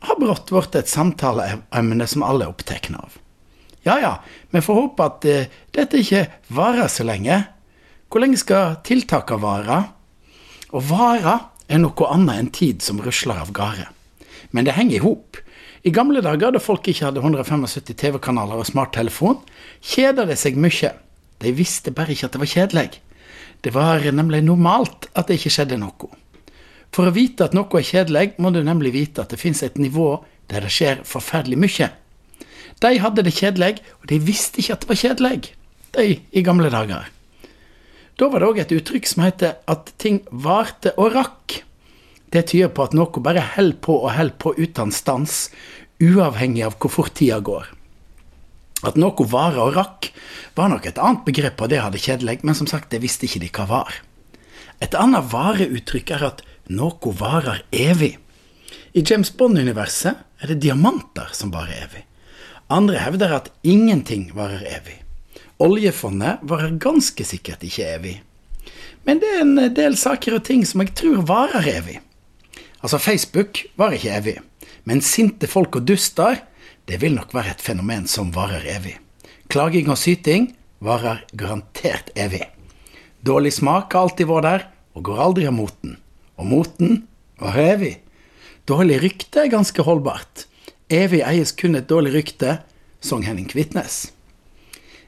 S6: har brått blitt et samtaleemne som alle er opptatt av. Ja ja, vi får håpe at eh, dette ikke varer så lenge. Hvor lenge skal tiltakene vare? Å vare er noe annet enn tid som rusler av gårde. Men det henger i hop. I gamle dager, da folk ikke hadde 175 TV-kanaler og smarttelefon, kjeda de seg mye. De visste bare ikke at det var kjedelig. Det var nemlig normalt at det ikke skjedde noe. For å vite at noe er kjedelig, må du nemlig vite at det fins et nivå der det skjer forferdelig mye. De hadde det kjedelig, og de visste ikke at det var kjedelig, de i gamle dager. Da var det òg et uttrykk som heter at ting varte og rakk. Det tyder på at noe bare held på og held på uten stans, uavhengig av hvor fort tida går. At noe varer og rakk, var nok et annet begrep på det hadde kjedelig, men som sagt, det visste ikke de hva var. Et annet vareuttrykk er at noe varer evig. I James Bond-universet er det diamanter som varer evig. Andre hevder at ingenting varer evig. Oljefondet varer ganske sikkert ikke evig. Men det er en del saker og ting som jeg tror varer evig. Altså, Facebook varer ikke evig. Men sinte folk og duster, det vil nok være et fenomen som varer evig. Klaging og syting varer garantert evig. Dårlig smak har alltid vært der, og går aldri av moten. Og moten var evig. Dårlig rykte er ganske holdbart. Evig eies kun et dårlig rykte, sang Henning Kvitnes.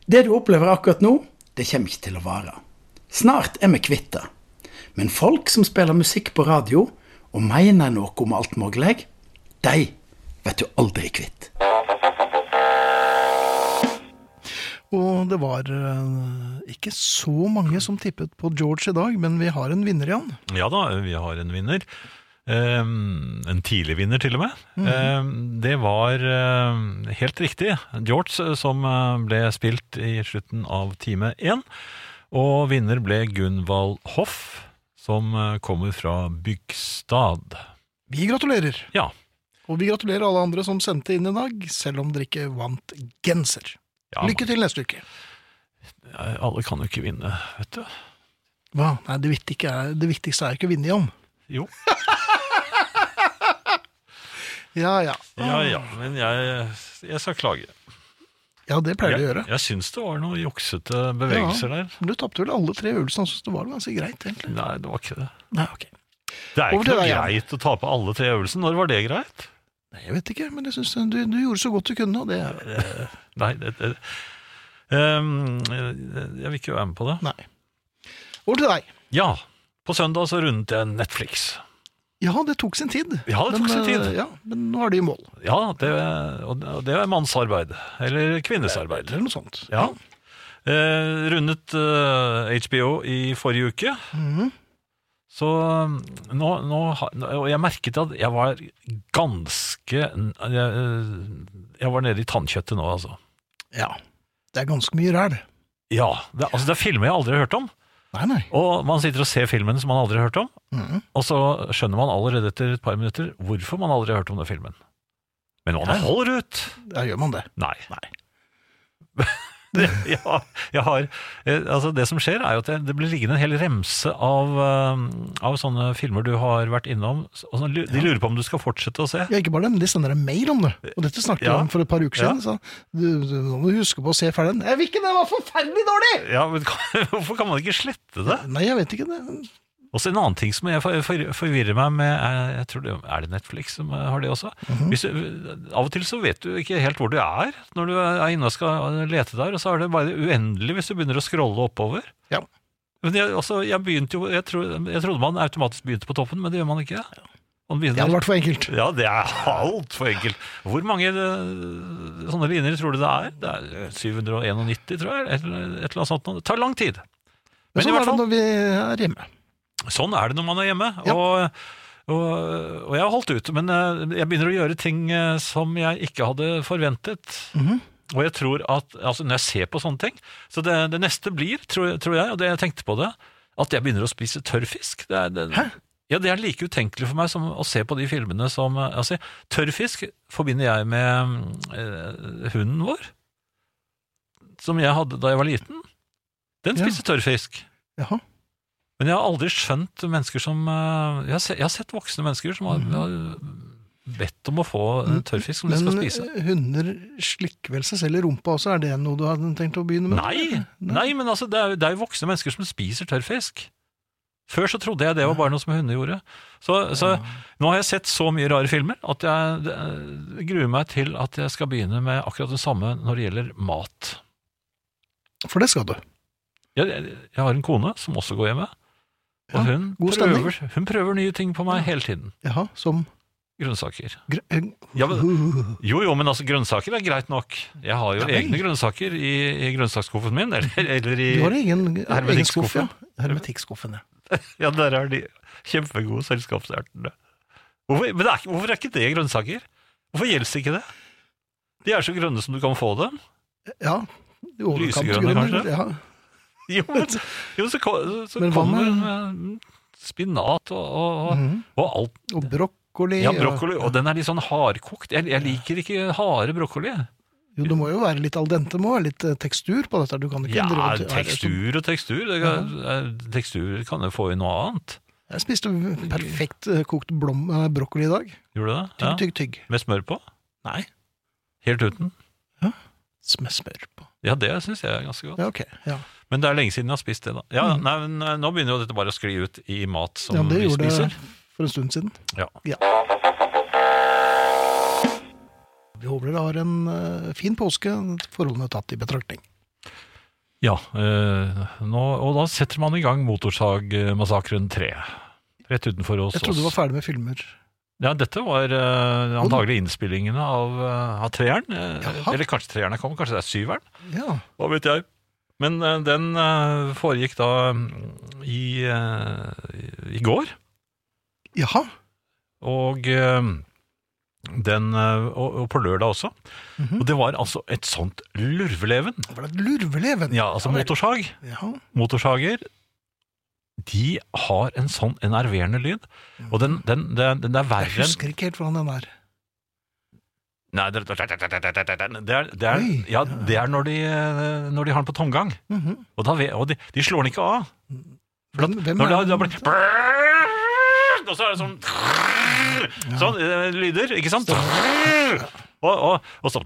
S6: Det du opplever akkurat nå, det kommer ikke til å vare. Snart er vi kvitt det. Men folk som spiller musikk på radio, og mener noe om alt mulig, de vet du aldri kvitt.
S2: Og det var eh, ikke så mange som tippet på George i dag, men vi har en vinner, Jan.
S3: Ja da, vi har en vinner. Ehm, en tidlig vinner, til og med.
S2: Mhm.
S3: Ehm, det var ehm, helt riktig George eh, som eh, ble spilt i slutten av time én. Og vinner ble Gunvald Hoff, som eh, kommer fra Bygstad.
S2: Vi gratulerer.
S3: Ja.
S2: Og vi gratulerer alle andre som sendte inn i dag, selv om dere ikke vant genser.
S3: ja man-
S2: Lykke til neste uke.
S3: eh, Alle kan jo ikke vinne, vet du.
S2: Hva? Nei, det viktigste er, det viktigste er ikke å vinne, Jan.
S3: Jo.
S2: Ja, ja.
S3: Ja ja, Ah. men jeg, jeg skal klage.
S2: Ja, det pleier du å gjøre.
S3: Jeg, jeg syns det var noen juksete bevegelser der.
S2: Men Du tapte vel alle tre øvelsene, han syntes det var ganske greit, egentlig.
S3: Nei, det var ikke det.
S2: Nei, ok.
S3: Det
S2: Over
S3: er ikke
S2: til
S3: noe
S2: deg, Jan.
S3: greit å tape alle tre øvelsene. Når var det greit?
S2: Nei, jeg vet ikke, men jeg synes du, du gjorde så godt du kunne, og det er
S3: Nei, det, det. Ehm, Jeg vil ikke være med på det.
S2: Nei. Over til deg.
S3: Ja, på søndag så rundet jeg Netflix.
S2: Ja, det tok sin tid.
S3: Ja, det tok
S2: men,
S3: sin tid.
S2: eh, Ja, men nå er det i mål.
S3: Ja, det, og det- og det er mannsarbeid. Eller kvinnesarbeid.
S2: Eller noe sånt.
S3: Ja. Eh, rundet eh, HBO i forrige uke.
S2: Mhm.
S3: Så um, nå, nå har- nå- Og jeg merket at jeg var ganske n- Jeg, eh, jeg var nede i tannkjøttet nå, altså.
S2: Ja. Det er ganske mye ræl.
S3: Ja. Det, altså, det er filmer jeg aldri har hørt om.
S2: Nei, nei.
S3: Og man sitter og ser filmen som man aldri har hørt om,
S2: Mhm.
S3: og så skjønner man allerede etter et par minutter hvorfor man aldri har hørt om den filmen. Men man
S2: Ja.
S3: holder ut!
S2: Da gjør man det.
S3: Nei. det, ja, jeg har, eh, altså det som skjer, er jo at det, det blir liggende en hel remse av, eh, av sånne filmer du har vært innom. Og sånn, lu- de lurer på om du skal fortsette å se.
S2: Ja, ikke bare det, men de sender deg mail om det. Og dette snakket vi
S3: Ja.
S2: om for et par uker
S3: Ja.
S2: siden. Så du, du, nå må du huske på å se ferdig den. Jeg vil ikke, den var forferdelig dårlig!
S3: Ja, men kan, Hvorfor kan man ikke slette det?
S2: Nei, jeg vet ikke det.
S3: Også en annen ting som jeg for- for- forvirrer meg med, er, jeg tror det, er det Netflix som eh, har det også? Hvis du, av og til så vet du ikke helt hvor du er når du er inne og skal lete der, og så er det bare uendelig hvis du begynner å scrolle oppover.
S2: Ja.
S3: Men jeg, altså, jeg begynte jo, jeg, tro, jeg trodde man automatisk begynte på toppen, men det gjør man ikke. Man
S2: Det hadde
S3: begynner,
S2: vært for enkelt.
S3: ja, det er altfor enkelt. Hvor mange eh, sånne linjer tror du det er? eh, Det er 791, tror jeg, eller et eller annet sånt. Det tar lang tid.
S2: Men
S3: Men i
S2: sånn
S3: hvert
S2: er det
S3: fall,
S2: når vi er hjemme.
S3: Sånn er det når man er hjemme.
S2: Ja.
S3: Og, og, og jeg har holdt ut, men eh, jeg begynner å gjøre ting eh, som jeg ikke hadde forventet.
S2: Mhm.
S3: Og jeg tror at, altså når jeg ser på sånne ting Så det, det neste blir, tror, tror jeg, og det jeg tenkte på det, at jeg begynner å spise tørrfisk. Det er, det,
S2: Hæ?
S3: Ja, det er like utenkelig for meg som å se på de filmene som eh, altså, Tørrfisk forbinder jeg med eh, hunden vår, som jeg hadde da jeg var liten. Den
S2: Ja.
S3: spiste tørrfisk.
S2: Jaha.
S3: Men jeg har aldri skjønt mennesker som eh, Jeg har, se, jeg har sett voksne mennesker som har, har bedt om å få eh, tørrfisk som de
S2: Men eh,
S3: skal spise.
S2: hunder slikker vel seg selv i rumpa også, er det noe du hadde tenkt å begynne med?
S3: Nei, nei men altså, det er, jo- det er jo voksne mennesker som spiser tørrfisk. Før så trodde jeg det var bare noe som hunder gjorde. Så, så nå har jeg sett så mye rare filmer at jeg eh, gruer meg til at jeg skal begynne med akkurat det samme når det gjelder mat.
S2: For det skal du.
S3: Jeg, jeg, jeg har en kone som også går hjemme, og
S2: Ja,
S3: hun,
S2: god stemning.
S3: prøver, hun prøver nye ting på meg hele tiden.
S2: Jaha, som
S3: Grønnsaker.
S2: gr- eh,
S3: Ja, men- Jo, jo, men altså, grønnsaker er greit nok. Jeg har jo
S2: Ja vel.
S3: egne grønnsaker i, i grønnsaksskuffen min, eller, eller i
S2: Du har egen, eh, egen skuff, ja.
S3: Eh, hermetikkskuffen.
S2: Hermetikkskuffen, ja.
S3: Ja, der er de kjempegode selskapsertene. Hvorfor, men det er, ikke- hvorfor er ikke det grønnsaker? Hvorfor gjelder ikke det? De er så grønne som du kan få dem.
S2: Ja, i overkant
S3: Lysegrønne,
S2: grønne,
S3: kanskje?
S2: Ja.
S3: Jo, men, jo så, ko- så
S2: Men hva
S3: kommer
S2: med-
S3: hun med spinat og, og, og,
S2: Mhm.
S3: og alt.
S2: Og brokkoli.
S3: Ja,
S2: og-
S3: brokkoli, og den er litt sånn hardkokt. Jeg, jeg liker ikke harde brokkoli.
S2: Jo, det må jo være litt al dente, det må være litt eh, tekstur på dette. Du kan ikke
S3: Ja,
S2: drive og- Ja, det er sånn-
S3: tekstur og tekstur. Det kan, eh, tekstur kan jo få i noe annet.
S2: Jeg spiste perfekt eh, kokt blom, eh, brokkoli i dag.
S3: Gjorde du det?
S2: Tygg, tygg, tygg.
S3: Med smør på?
S2: Nei.
S3: Helt uten?
S2: Med smør på.
S3: Ja, det syns jeg er ganske godt.
S2: Ja, ok. Ja.
S3: Men det er lenge siden jeg har spist det, da. Ja, nei, men eh, Nå begynner jo dette bare å skli ut i mat som
S2: Mm. ja, det
S3: vi
S2: gjorde jeg
S3: spiser.
S2: for en stund siden.
S3: Ja.
S2: Vi håper dere har en eh, fin påske, forholdene tatt i betraktning.
S3: ja eh, nå, og da setter man i gang Motorsagmassakren 3. Rett utenfor oss.
S2: Jeg trodde du var ferdig med filmer.
S3: Ja, dette var uh, antagelig innspillingene av, eh, av treeren. eh,
S2: Jaha.
S3: eller kanskje treeren er kommet, kanskje det er syveren.
S2: Ja,
S3: Hva vet jeg? Men eh, den eh, foregikk da mm, i, eh, i går,
S2: Jaha.
S3: og, eh, den, eh, og, og på lørdag også.
S2: Mhm.
S3: Og det var altså et sånt lurveleven.
S2: Det var et lurveleven.
S3: Ja, altså
S2: vel.
S3: motorsag.
S2: Ja.
S3: Motorsager, de har en sånn enerverende lyd, og den, den, den, den er
S2: Jeg
S3: verre enn
S2: husker ikke helt hvordan den er.
S3: Nei, det, det, det, det, det, det, det, er, det, er,
S2: Oi.
S3: ja, det er når de, eh, når de har den på tomgang.
S2: Mhm.
S3: Og, da, ve- og de, de slår den ikke av. For at,
S2: Hvem- hvem
S3: når det
S2: er
S3: har- det har
S2: den?
S3: blitt Og så er det sånn Sånn eh, lyder, ikke sant? Og, og, og så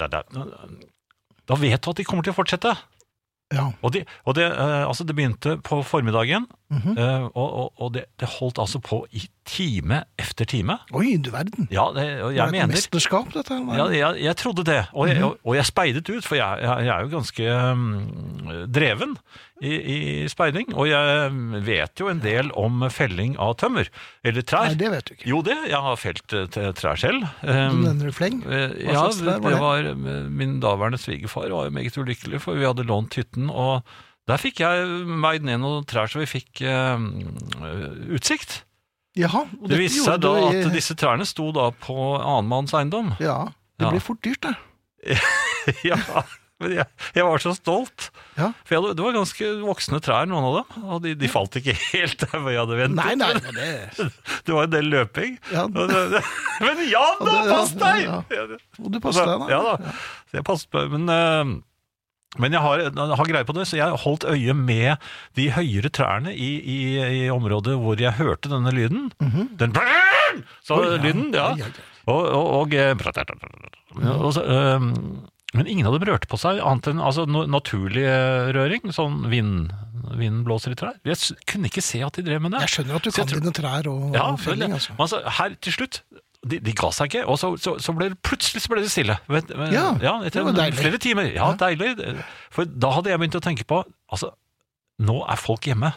S3: Da vet du at de kommer til å fortsette.
S2: Ja.
S3: Og, de, og det, eh, altså det begynte på formiddagen,
S2: Mhm.
S3: eh, og, og, og det, det holdt altså på i time efter time.
S2: Oi, du verden.
S3: Ja, det, og
S2: Det
S3: jeg
S2: er et
S3: mener
S2: mesterskap, dette. her, nei? Mhm.
S3: ja, jeg, jeg trodde det, og jeg, og- og jeg speidet ut, for jeg, jeg, jeg er jo ganske mm, dreven i, i speiding, og jeg mm, vet jo en del om felling av tømmer, eller
S2: Nei,
S3: trær.
S2: det vet du ikke.
S3: Jo det, jeg har felt eh, t- trær selv.
S2: Du
S3: Um,
S2: nevner i fleng.
S3: eh,
S2: Hva
S3: ja,
S2: slags trær
S3: det
S2: var det?
S3: var eh, min daværende svigerfar var jo meget ulykkelig, for vi hadde lånt hytten, og der fikk jeg meid ned noen trær så vi fikk eh, utsikt.
S2: Jaha, og
S3: Det
S2: dette
S3: viste
S2: gjorde
S3: seg da
S2: du i-
S3: at disse trærne sto da på annenmanns eiendom.
S2: Ja, det
S3: Ja.
S2: blir fort dyrt, det.
S3: Ja, men jeg, jeg var så stolt.
S2: Ja.
S3: For jeg hadde, det var ganske voksne trær, noen av dem. Og de, de falt ikke helt der hvor jeg hadde ventet.
S2: Nei, nei, men det
S3: Det var en del løping.
S2: ja,
S3: Og det- det- Men ja da,
S2: Ja,
S3: pass deg!
S2: ja,
S3: Ja,
S2: Og du passer deg, da.
S3: Ja da. Så jeg passet meg. Men eh, Men jeg har, jeg har greie på det, så jeg holdt øye med de høyere trærne i, i, i området hvor jeg hørte denne lyden.
S2: Mhm.
S3: Den brrrr, sa lyden, ja.
S2: Ai, ai, ai.
S3: Og, og, og, eh, og så, øhm, Men ingen hadde rørt på seg, annet enn altså, no, naturlig eh, røring, sånn vind, vinden blåser i trær. Jeg s- kunne ikke se at de drev med det.
S2: Jeg skjønner at du
S3: Så jeg
S2: kan
S3: tror-
S2: dine trær og
S3: ja,
S2: og felling,
S3: føler jeg.
S2: altså.
S3: Men altså, her til slutt de, de ga seg ikke, og så, så, så ble det plutselig så ble det stille. Vet- men-
S2: Ja, det
S3: etter
S2: var deilig.
S3: flere timer. Ja,
S2: Ja.
S3: deilig. For da hadde jeg begynt å tenke på Altså, nå er folk hjemme.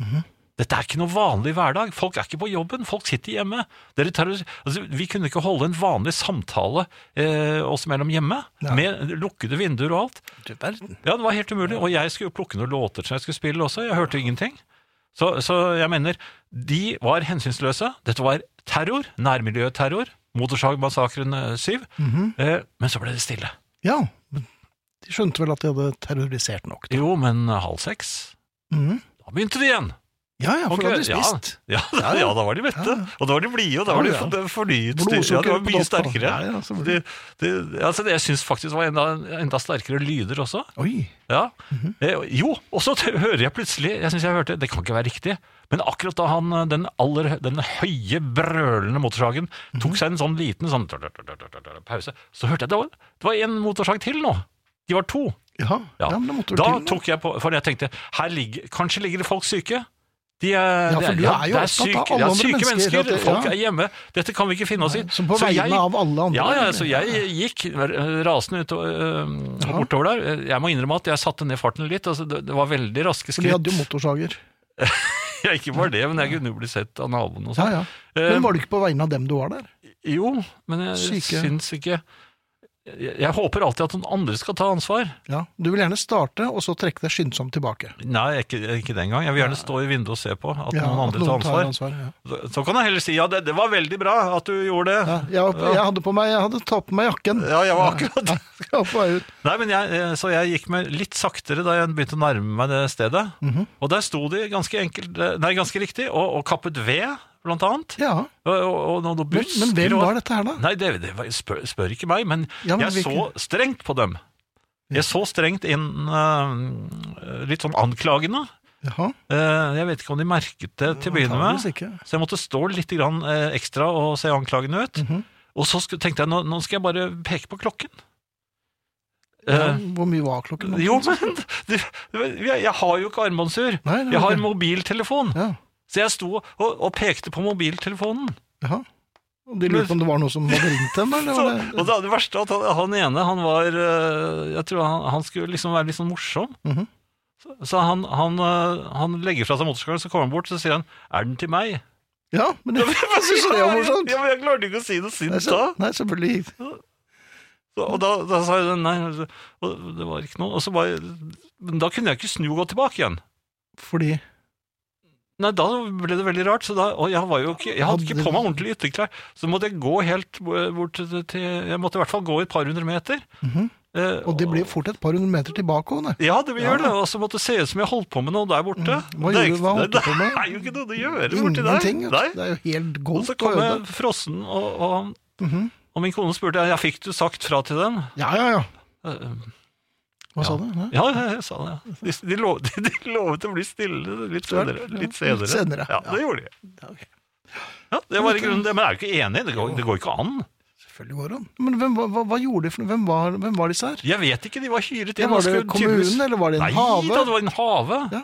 S2: Mhm.
S3: Dette er ikke noe vanlig hverdag. Folk er ikke på jobben, folk sitter hjemme. Dere tar, altså, vi kunne ikke holde en vanlig samtale eh, oss mellom hjemme,
S2: Nei.
S3: med lukkede vinduer og alt.
S2: Du verden.
S3: Ja, det var helt umulig. Og jeg skulle jo plukke noen låter som jeg skulle spille også. Jeg hørte ingenting. Så, så jeg mener, de var hensynsløse. Dette var terror. Nærmiljøterror. Motorsagmassakren 7. eh, men så ble det stille.
S2: Mhm. Ja, men de skjønte vel at de hadde terrorisert nok.
S3: Jo, men halv seks
S2: Mhm.
S3: da begynte de igjen!
S2: Ja, ja, for da hadde de
S3: Ja.
S2: spist.
S3: Ja, ja, da var de mette.
S2: Ja.
S3: Og da var de blide, og da var de
S2: Ja, ja.
S3: for- fornyet.
S2: Blodsukker
S3: Ja, de var
S2: på
S3: mye
S2: toppen.
S3: sterkere.
S2: Ja, ja, så-
S3: de, de, altså, jeg syns faktisk det var enda, enda sterkere lyder også.
S2: Oi.
S3: Ja.
S2: Mhm.
S3: Eh, Jo, og så t- hører jeg plutselig Jeg synes jeg hørte, det kan ikke være riktig Men akkurat da han, eh, den, aller, den høye brølende motorsagen
S2: Mhm.
S3: Tok seg en sånn liten sånn Pause Så hørte jeg, det var, det var en motorsag til nå De var to
S2: Ja, ja.
S3: Ja.
S2: men da måtte du
S3: Da
S2: til.
S3: tok jeg på, for jeg tenkte Her ligger, kanskje ligger det folk syke de er,
S2: Ja,
S3: de
S2: for du er jo
S3: det
S2: opptatt av
S3: syke,
S2: alle
S3: ja,
S2: andre
S3: syke
S2: mennesker,
S3: mennesker,
S2: at det-
S3: folk
S2: ja.
S3: er hjemme Dette kan vi ikke finne oss i
S2: Som på
S3: Så
S2: vegne
S3: jeg-
S2: av alle andre.
S3: ja, ja, så jeg gikk eh, rasende ut, øh,
S2: Ja.
S3: bortover der. Jeg må innrømme at jeg satte ned farten litt. Altså, det, det var veldig raske
S2: For de hadde
S3: skritt.
S2: jo motorsager.
S3: Ja, ikke bare det, men jeg kunne jo bli sett av naboen
S2: Ja,
S3: og sånn.
S2: ja.
S3: Eh,
S2: Men var du ikke på vegne av dem du var der?
S3: jo, men jeg
S2: Syke.
S3: syns ikke jeg, jeg håper alltid at noen andre skal ta ansvar.
S2: Ja. Du vil gjerne starte, og så trekke deg skyndsomt tilbake.
S3: Nei, ikke, ikke den gang. Jeg vil gjerne stå i vinduet og se på at
S2: Ja,
S3: noen andre tar ansvar.
S2: ja.
S3: Så, så kan jeg heller si ja, det, det var veldig bra at du gjorde det.
S2: Ja, jeg, var på, jeg hadde på meg, jeg hadde tatt på meg jakken.
S3: Ja, jeg var akkurat
S2: Jeg var på vei ut.
S3: Nei, men jeg, eh, Så jeg gikk med litt saktere da jeg begynte å nærme meg det stedet.
S2: Mhm.
S3: Og der sto de ganske, enkelt, eh, nei, ganske riktig og, og kappet ved, blant annet.
S2: Ja,
S3: Og, og, og noen
S2: men,
S3: busker.
S2: men hvem
S3: og,
S2: var dette her da?
S3: Nei, det, det var, spør, spør ikke meg, men,
S2: Ja, men
S3: jeg så
S2: hvilken-
S3: strengt på dem. Jeg så strengt inn eh, litt sånn anklagende.
S2: Jaha,
S3: Eh, jeg vet ikke om de merket det til å begynne med.
S2: antageligvis ikke.
S3: Så jeg måtte stå litt grann, eh, ekstra og se anklagende ut.
S2: Mm.
S3: Og så sku, tenkte jeg nå, nå skal jeg bare peke på klokken.
S2: Ja,
S3: Eh,
S2: hvor mye var klokken? nå?
S3: jo, men du, du, jeg, jeg har jo ikke armbåndsur.
S2: Nei, nei,
S3: Jeg har
S2: ok.
S3: mobiltelefon.
S2: Ja,
S3: Så jeg sto og, og pekte på mobiltelefonen.
S2: jaha. Og de lurte på om det var noe som hadde ringt dem, eller?
S3: Så,
S2: var det-
S3: og det, det verste er at han, han ene, han var øh, Jeg tror han, han skulle liksom være litt sånn morsom.
S2: Mhm.
S3: Så, så han, han, øh, han legger fra seg motorsykkelen, så kommer han bort så sier han 'Er den til meg?'
S2: Ja, men det, jeg synes det var morsomt.
S3: Ja, men jeg klarte ikke å si noe
S2: Nei,
S3: sint
S2: så,
S3: da.
S2: nei, selvfølgelig.
S3: Så, og da, da sa jeg nei, altså, og det var ikke noe. Og så bare, men da kunne jeg ikke snu og gå tilbake igjen.
S2: Fordi
S3: Nei, da ble det veldig rart, så da, og jeg, var jo ikke, jeg hadde ikke på meg ordentlig ytterklær. Så måtte jeg gå helt bort til, til Jeg måtte i hvert fall gå et par hundre meter.
S2: Mhm.
S3: Eh,
S2: Og det blir fort et par hundre meter tilbake òg, nei.
S3: Ja, det gjør
S2: Ja. Mhm.
S3: det. Og så måtte det se ut som jeg holdt på med noe der borte.
S2: Hva
S3: det, er
S2: gjorde-
S3: ikke-
S2: hva holdt du
S3: det-
S2: på med?
S3: Det er jo ikke noe å gjøre borti der.
S2: Ingenting. vet du.
S3: Nei.
S2: Det er jo helt
S3: Og
S2: goldt
S3: så
S2: og
S3: kom
S2: øde.
S3: jeg frossen, og, og,
S2: Mhm.
S3: og min kone spurte ja, fikk du sagt fra til dem.
S2: Ja, ja, ja.
S3: Eh,
S2: Hva sa du? Nei.
S3: Ja, ja, jeg sa det. De, de, lov, de, de lovet å bli stille litt senere. Litt
S2: Ja,
S3: senere.
S2: litt senere,
S3: Ja,
S2: ja.
S3: det gjorde de.
S2: Ja, ok.
S3: Ja, det var i grunnen det, men jeg er jo ikke enig. Det går, det går ikke an.
S2: Selvfølgelig går det an. Men hvem, var- hva, hva gjorde de for noe? Hvem var, hvem var disse her?
S3: Jeg vet ikke, de var hyret
S2: Ja,
S3: inn.
S2: var
S3: og skulle
S2: det kommunen,
S3: tydeligvis-
S2: eller var det en
S3: Nei,
S2: hage?
S3: da, det var en hage.
S2: Ja.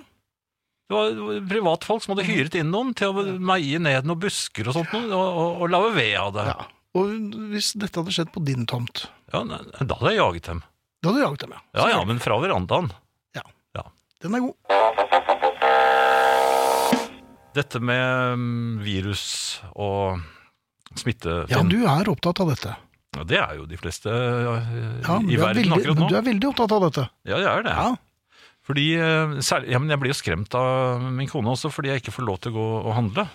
S3: Det var- det var privatfolk som hadde hyret inn noen til å meie ned noen busker og sånt, noe, og, og, og lage ved av det.
S2: Ja. Og hvis dette hadde skjedd på din tomt,
S3: Ja, nei, da hadde jeg jaget dem.
S2: da hadde du jaget dem, ja.
S3: Ja, ja, men fra verandaen.
S2: Den er god.
S3: Dette med mm, virus og smitte,
S2: Ja,
S3: Finn,
S2: du er opptatt av dette.
S3: ja, det er jo de fleste øh,
S2: Ja, men
S3: i
S2: du er
S3: verden
S2: veldig,
S3: akkurat nå.
S2: Men du er veldig opptatt av dette.
S3: Ja, jeg er det.
S2: Ja.
S3: Fordi, øh, særlig, ja, men jeg blir jo skremt av min kone også, fordi jeg ikke får lov til å gå og handle.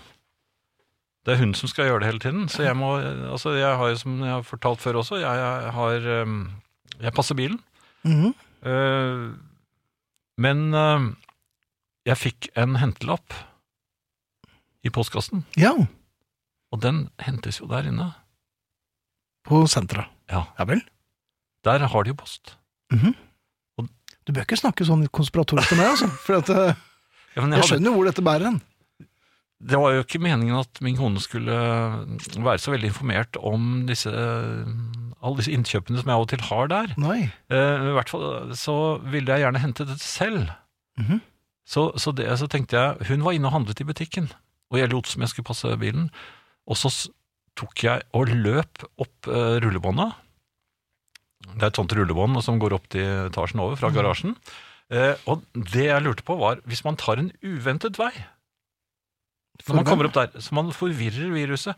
S3: Det er hun som skal gjøre det hele tiden, så jeg må, øh, altså jeg har jo som jeg har fortalt før også, jeg, jeg har, øhm, jeg passer bilen.
S2: Mhm.
S3: Eh, men eh, jeg fikk en hentelapp i postkassen,
S2: Ja,
S3: og den hentes jo der inne.
S2: på senteret.
S3: Ja.
S2: Ja vel.
S3: Der har de jo post.
S2: Mhm.
S3: Og
S2: Du bør ikke snakke sånn konspiratorisk til meg, altså. For at, eh,
S3: Ja, men jeg
S2: jeg
S3: hadde-
S2: skjønner jo hvor dette bærer hen.
S3: Det var jo ikke meningen at min kone skulle eh, være så veldig informert om disse, eh, alle disse innkjøpene som jeg av og til har der.
S2: Nei.
S3: Eh, I hvert fall så ville jeg gjerne hente det selv.
S2: Mhm.
S3: så, så, det, så tenkte jeg Hun var inne og handlet i butikken, og jeg lot som jeg skulle passe bilen. Og så s- tok jeg og løp opp eh, rullebåndet. Det er et sånt rullebånd som går opp til etasjen over fra garasjen. Eh, og det jeg lurte på, var hvis man tar en uventet vei når man kommer opp der, så man forvirrer viruset.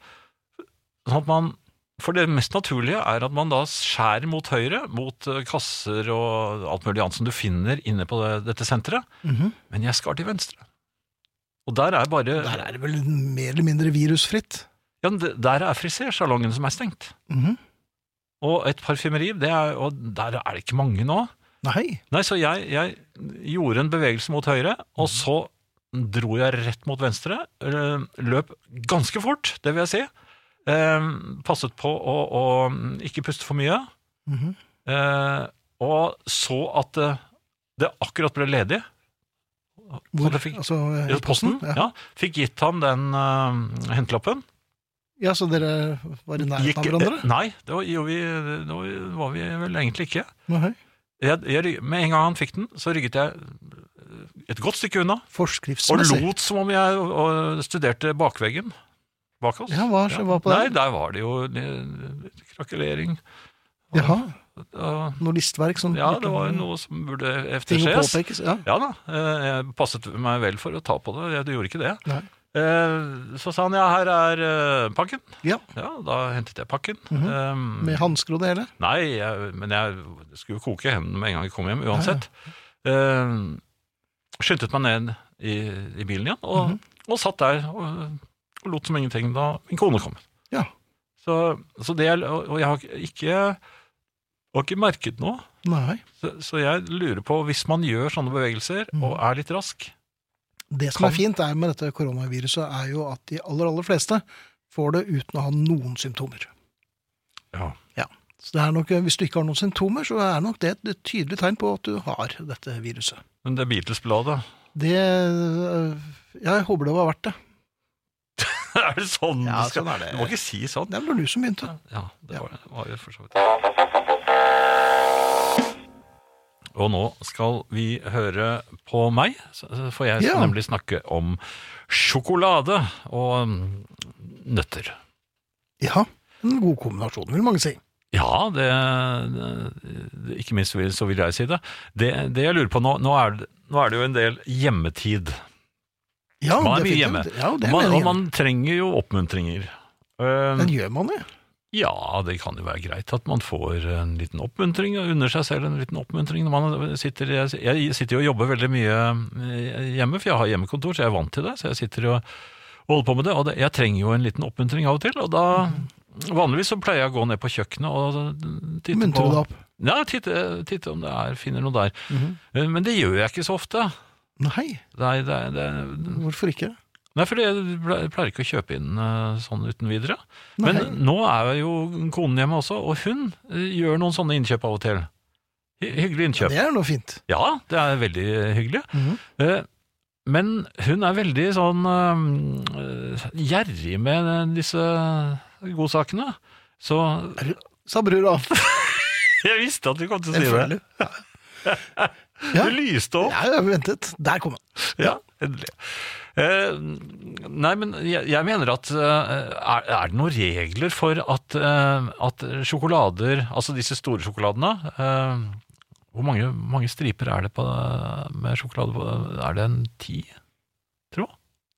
S3: Sånn at man, for det mest naturlige er at man da skjærer mot høyre, mot eh, kasser og alt mulig annet som du finner inne på det, dette senteret,
S2: Mhm.
S3: men jeg skar til venstre. Og der er bare
S2: Der er det vel mer eller mindre virusfritt.
S3: ja, men det- der er frisersalongen som er stengt.
S2: Mhm.
S3: Og et parfymeri, det er, og der er det ikke mange nå.
S2: Nei.
S3: Nei, så jeg, jeg gjorde en bevegelse mot høyre, og
S2: Mm.
S3: så dro jeg rett mot venstre. øh, Løp ganske fort, det vil jeg si. Ehm, Passet på å, å ikke puste for mye.
S2: Mhm.
S3: eh, Og så at eh, det akkurat ble ledig.
S2: Hvor?
S3: Så det fikk,
S2: Altså, eh,
S3: i posten, ja. Fikk gitt ham den øh, hentelappen.
S2: Ja, så dere var i nærheten av
S3: Gikk-
S2: hverandre?
S3: eh, Nei, det var, jo, vi, det var, var vi vel egentlig ikke.
S2: Nei.
S3: Jeg, jeg, rygg- med en gang han fikk den, så rygget jeg eh, et godt stykke unna. Og
S2: Forskriftsmessig.
S3: lot som om jeg og, studerte bakveggen bak oss.
S2: Ja, hva hva på
S3: Nei,
S2: det?
S3: der var det jo eh, krakelering.
S2: Jaha,
S3: og-
S2: noe listverk som
S3: Ja, det var jo noe som burde
S2: ting å
S3: efterses.
S2: påpekes. Ja.
S3: Ja da, eh, jeg passet meg vel for å ta på det, jeg gjorde ikke det.
S2: Nei.
S3: Eh, Så sa han ja, her er eh, pakken.
S2: Ja. Mhm.
S3: da hentet jeg pakken. Eh,
S2: Med hansker og det hele.
S3: Nei, jeg, men jeg skulle jo koke hendene med en gang jeg kom hjem, uansett. Eh, skyndte meg ned i, i bilen igjen, og,
S2: Mhm.
S3: og satt der og, og lot som ingenting da min kone kom.
S2: Ja.
S3: Så, så det, er- og og jeg har ikke, har ikke merket noe,
S2: Nei.
S3: så, så jeg lurer på, hvis man gjør sånne bevegelser
S2: Mm.
S3: og er litt rask,
S2: Det som
S3: Kan-
S2: er fint er med dette koronaviruset, er jo at de aller, aller fleste får det uten å ha noen symptomer.
S3: Ja.
S2: Så det er nok, Hvis du ikke har noen symptomer, så er nok det et tydelig tegn på at du har dette viruset.
S3: men det Beatles-bladet,
S2: Det øh, Jeg håper det var verdt det.
S3: er det sånn?
S2: Ja,
S3: du skal-
S2: sånn er det.
S3: Du må ikke si sånn.
S2: Det var du som begynte.
S3: Ja, det
S2: Ja.
S3: var, var jo for så vidt. Og nå skal vi høre på meg, så- så for jeg skal
S2: Ja.
S3: nemlig snakke om sjokolade og mm, nøtter.
S2: Ja. En god kombinasjon, vil mange si.
S3: Ja, det, det- ikke minst vil- så vil jeg si det. Det, det jeg lurer på nå, nå er, det- nå er det jo en del hjemmetid.
S2: Ja,
S3: Man er mye
S2: det fint.
S3: hjemme.
S2: Ja, det er
S3: man, og
S2: meningen.
S3: man trenger jo oppmuntringer. Eh,
S2: Men gjør man det?
S3: Ja, det kan jo være greit at man får en liten oppmuntring, og under seg selv en liten oppmuntring. Når man sitter, jeg, jeg sitter jo og jobber veldig mye eh, hjemme, for jeg har hjemmekontor, så jeg er vant til det. Så jeg sitter jo og holder på med det, og det, jeg trenger jo en liten oppmuntring av og til. Og da,
S2: Mm.
S3: vanligvis så pleier jeg å gå ned på kjøkkenet og titte
S2: Muntre
S3: på
S2: det opp? Mhm.
S3: Ja, titte, titte om det er, finner noe der. Eh, Men det gjør jeg ikke så ofte.
S2: Nei,
S3: Nei, det, er- det,
S2: hvorfor ikke?
S3: Nei, for jeg ble- pleier ikke å kjøpe inn eh, sånn uten videre. Men
S2: Nei.
S3: nå er jo konen hjemme også, og hun eh, gjør noen sånne innkjøp av og til. Hy hyggelig innkjøp.
S2: Det er noe fint.
S3: Ja, det er veldig hyggelig.
S2: Mhm.
S3: Eh, Men hun er veldig sånn eh, gjerrig med disse godsakene. Så
S2: Sa brura.
S3: jeg visste at du kom til å si det.
S2: Ja.
S3: Du lyste opp.
S2: Ja, jeg ventet. Der kom han.
S3: Ja, endelig. Eh, nei, men jeg, jeg mener at eh, er, er det noen regler for at, eh, at sjokolader, altså disse store sjokoladene eh, Hvor mange, mange striper er det på, med sjokolade? På, er det en ti, tro?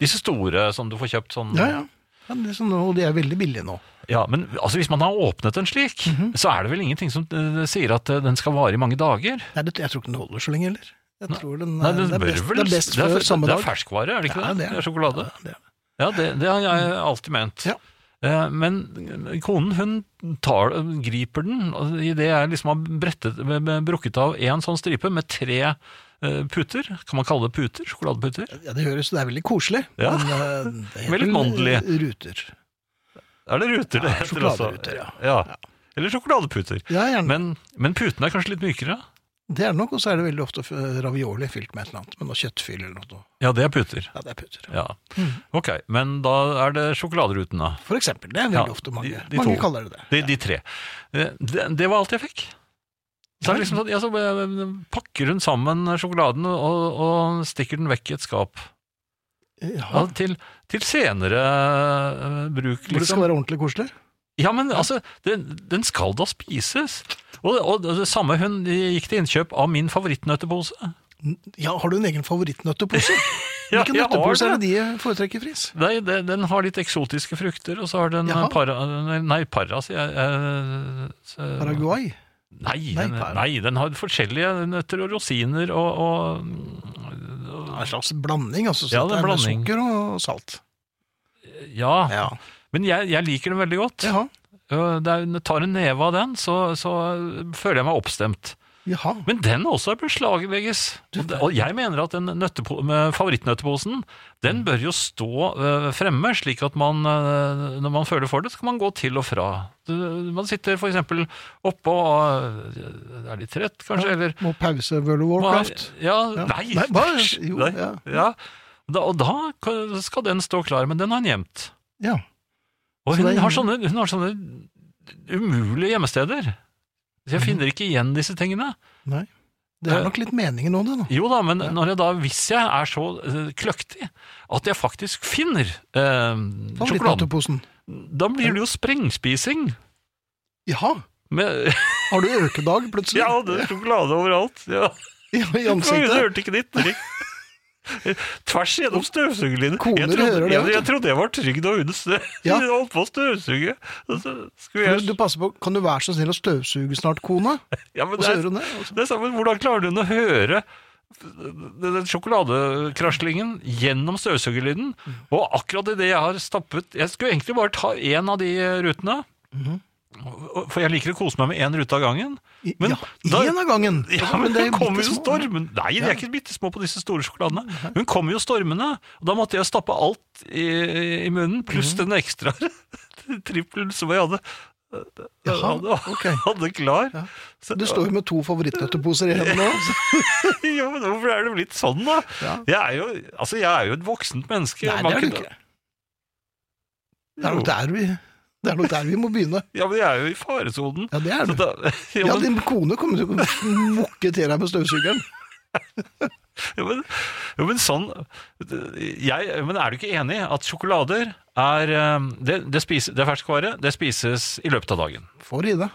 S3: Disse store som du får kjøpt sånn
S2: Ja, ja. ja det er sånn, og de er veldig billige nå.
S3: Ja, men altså, hvis man har åpnet en slik,
S2: Mhm.
S3: så er det vel ingenting som eh, sier at eh, den skal vare i mange dager?
S2: Nei, det, jeg tror ikke den holder så lenge heller. Jeg tror den, eh,
S3: Nei, den
S2: det, er
S3: bør
S2: best,
S3: vel-
S2: det er best
S3: det er,
S2: før
S3: fe-
S2: samme
S3: Det
S2: dag.
S3: er ferskvare, er det ikke
S2: Ja,
S3: det?
S2: det er-
S3: Det er sjokolade.
S2: Ja, det er-
S3: Ja, det, det har jeg alltid ment.
S2: Ja.
S3: Eh, Men konen hun tar, griper den og i det jeg liksom har brettet, brukket av en sånn stripe med tre eh, puter. Kan man kalle det puter? Sjokoladeputer?
S2: ja, det høres, det er veldig koselig.
S3: Ja.
S2: Men eh, det
S3: Veldig
S2: vel
S3: mandelig.
S2: Ruter.
S3: Er det ruter det
S2: Ja, sjokoladeruter, ja.
S3: ja. Eller sjokoladeputer.
S2: Ja, gjerne.
S3: Men, men putene er kanskje litt mykere?
S2: Det er det nok, og så er det veldig ofte eh, ravioli fylt med et eller annet, med noe kjøttfyll eller noe.
S3: Ja, det er puter.
S2: Ja, det er puter.
S3: Ja.
S2: Mm.
S3: Ok, men da er det sjokoladeruten, da.
S2: For eksempel. Det er veldig
S3: Ja,
S2: ofte mange.
S3: de- de
S2: mange
S3: to.
S2: kaller det det.
S3: De, de tre. Eh, Det, det var alt jeg fikk. Så er det liksom sånn, ja, så eh, pakker hun sammen sjokoladen og, og stikker den vekk i et skap. Ja,
S2: Ja,
S3: til, til senere eh, bruk,
S2: Hvor det skal
S3: liksom.
S2: være ordentlig koselig.
S3: Ja, men altså, den, den skal da spises. Og, og det samme, hun gikk til innkjøp av min favorittnøttepose.
S2: Ja, har du en egen favorittnøttepose?
S3: Ja,
S2: Hvilken
S3: jeg har
S2: nøttepose er
S3: det.
S2: det de eh, foretrekker, Friis?
S3: Nei, det, den har litt eksotiske frukter, og så har den
S2: Jaha.
S3: eh, para... Nei, para, sier jeg. eh, s-
S2: Paraguay?
S3: Nei,
S2: Nei,
S3: den,
S2: para.
S3: nei, den har forskjellige nøtter og rosiner og, og
S2: Det er en slags blanding, altså. Så
S3: Ja, det er
S2: med
S3: blanding.
S2: Sukker og salt.
S3: Ja.
S2: Ja.
S3: Men jeg, jeg liker den veldig godt.
S2: Jaha.
S3: Eh, det er- tar en neve av den, så, så føler jeg meg oppstemt.
S2: Jaha.
S3: Men den også beslaglegges. Og, det, og jeg mener at den nøttepo med favorittnøtteposen, den
S2: Mm.
S3: bør jo stå øh, fremme, slik at man, øh, når man føler for det, så kan man gå til og fra. Du, man sitter for eksempel oppå og øh, er litt trett, kanskje, eller
S2: Må pause World of Warcraft.
S3: Ja,
S2: Ja.
S3: nei,
S2: Nei, hva? Jo,
S3: Nei,
S2: ja.
S3: ja. Da, og da kan- skal den stå klar, men den har han gjemt.
S2: Ja.
S3: Og
S2: Så det
S3: hun
S2: er
S3: har,
S2: ingen-
S3: sånne, hun har sånne umulige gjemmesteder. Så jeg finner ikke igjen disse tingene.
S2: Nei. Det er nok litt meningen nå, det. nå.
S3: Jo da, men når jeg da, hvis jeg er så eh, kløktig at jeg faktisk finner eh, sjokoladen,
S2: Favorittnøtteposen.
S3: da blir det jo sprengspising
S2: Jaha.
S3: med
S2: Har du økedag plutselig?
S3: ja, det er sjokolade overalt. Ja.
S2: Ja, I
S3: Hun
S2: ansiktet?
S3: hørte ikke ditt trikk. Tvers gjennom støvsugerlinjen.
S2: Koner
S3: Jeg, trodde-
S2: hører det,
S3: jeg,
S2: vet du.
S3: jeg trodde jeg var trygg da hun stø-
S2: Ja.
S3: holdt på å støvsuge. Og så skulle
S2: Du,
S3: jeg-
S2: du passer på, Kan du være så snill å støvsuge snart, kone?
S3: Ja, men
S2: Og
S3: det
S2: så
S3: er-
S2: hører hun det. altså? og så-
S3: Det er sammen, Hvordan klarer hun å høre den den sjokoladekraslingen gjennom støvsugerlyden?
S2: Mm.
S3: Og akkurat i det jeg har stappet Jeg skulle egentlig bare ta én av de rutene.
S2: Mm-hmm.
S3: og- For jeg liker å kose meg med én rute av gangen.
S2: I-
S3: Men
S2: ja,
S3: da-
S2: Én av gangen!
S3: Ja, men
S2: det er
S3: Hun kommer jo
S2: bittesmå.
S3: stormen Nei, de er ikke bitte små på disse store sjokoladene. Hun kommer jo stormende, og da måtte jeg stappe alt i, i munnen,
S2: Mhm.
S3: pluss den ekstra trippelen som jeg hadde,
S2: Jaha,
S3: hadde,
S2: ok.
S3: hadde klar.
S2: Ja.
S3: Så-
S2: Du står jo med to favorittnøtteposer i hendene nå. så-
S3: ja, men hvorfor er det blitt sånn, da?
S2: Ja.
S3: Jeg, er jo, altså, jeg er jo et voksent menneske.
S2: Nei,
S3: Man
S2: det er du
S3: kunne-
S2: ikke. Det er nok der vi, det er nok der vi må begynne.
S3: Ja, men jeg er jo i faresonen.
S2: Ja, det er
S3: Så
S2: du.
S3: da, ja,
S2: Ja,
S3: men,
S2: din kone kommer til å mukke til deg med støvsugeren.
S3: ja, men, ja, men sånn jeg, Men er du ikke enig at sjokolader er eh, Det, det, spises, det er ferskvare, det spises i løpet av dagen.
S2: Får i deg.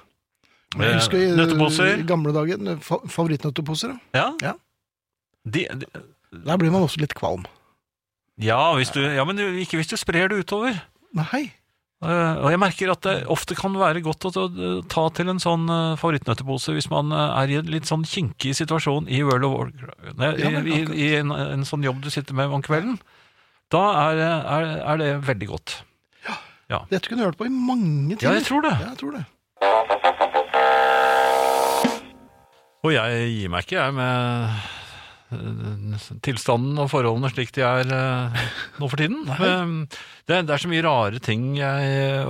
S3: Eh,
S2: Jeg husker i
S3: nøtteposer.
S2: i gamle dager fa- favorittnøtteposer. ja.
S3: Ja?
S2: Ja.
S3: De, de,
S2: Der blir man også litt kvalm.
S3: ja, hvis du, ja, men ikke hvis du sprer det utover.
S2: Nei.
S3: Eh, og jeg merker at det ofte kan være godt å, ta- ta til en sånn eh, favorittnøttepose hvis man eh, er i en litt sånn kinkig situasjon i World of Warcraft. Nei,
S2: Ja, men
S3: i, i, I en, en sånn jobb du sitter med om kvelden. Da er, eh, er, er det veldig godt.
S2: Dette kunne du hørt på i mange timer.
S3: Ja, jeg tror det.
S2: Ja, jeg tror det.
S3: Og jeg gir meg ikke, jeg, med eh, tilstanden og forholdene slik de er eh, nå for tiden. Men det, er- det er så mye rare ting jeg eh,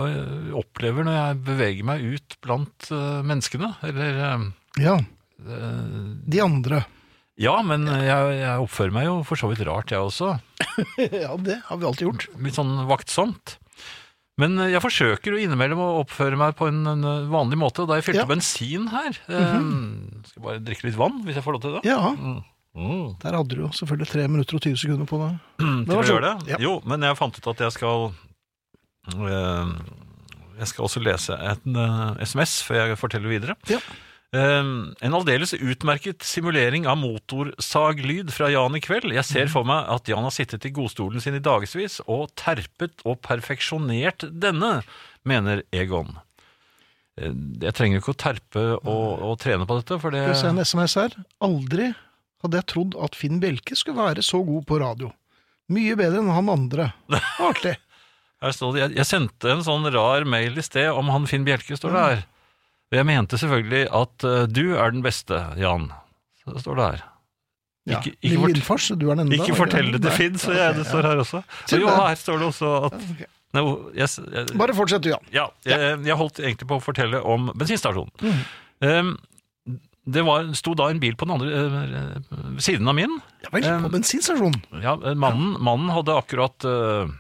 S3: opplever når jeg beveger meg ut blant eh, menneskene. Eller
S2: Ja,
S3: eh,
S2: De andre.
S3: Ja, men jeg, jeg oppfører meg jo for så vidt rart, jeg også.
S2: ja, det har vi alltid gjort.
S3: Litt sånn vaktsomt. Men eh, jeg forsøker jo innimellom å oppføre meg på en, en eh, vanlig måte. Da jeg fylte
S2: Ja. Mhm.
S3: bensin her eh, Skal bare drikke litt vann, hvis jeg får lov til det.
S2: Ja,
S3: Mm.
S2: Der hadde du jo selvfølgelig 3 minutter og 20 sekunder på deg.
S3: Til å
S2: vær så god.
S3: gjøre det?
S2: Ja.
S3: Jo, men jeg fant ut at jeg skal eh, Jeg skal også lese en eh, SMS før jeg forteller videre.
S2: Ja.
S3: Eh, en aldeles utmerket simulering av motorsaglyd fra Jan i kveld.
S2: Mhm.
S3: Jeg ser for meg at Jan har sittet i godstolen sin i dagevis og terpet og perfeksjonert denne, mener Egon. Eh, Jeg trenger jo ikke å terpe og, og trene på dette, for det
S2: Skal vi se en SMS her. Aldri hadde jeg trodd at Finn Bjelke skulle være så god på radio. Mye bedre enn han andre. Artig.
S3: Her står det, jeg, jeg sendte en sånn rar mail i sted om han Finn Bjelke, står det her. Og jeg mente selvfølgelig at eh, du er den beste, Jan. Så det står det her.
S2: Ja.
S3: Ikke- ikke
S2: Lille
S3: fort-
S2: Lindfors, du er den enda.
S3: Ikke fortell det til Finn, så jeg, det står her også.
S2: Til
S3: Og jo,
S2: det.
S3: her står det også at eh, Nei, jeg, s- jeg,
S2: Bare fortsett du, Jan. Mm.
S3: eh, ja, jeg, jeg holdt egentlig på å fortelle om bensinstasjonen. Um, Det var, sto da en bil på den andre eh, siden av min.
S2: Ja vel,
S3: Eh,
S2: på bensinstasjonen.
S3: Ja, eh, mannen, mannen hadde akkurat eh,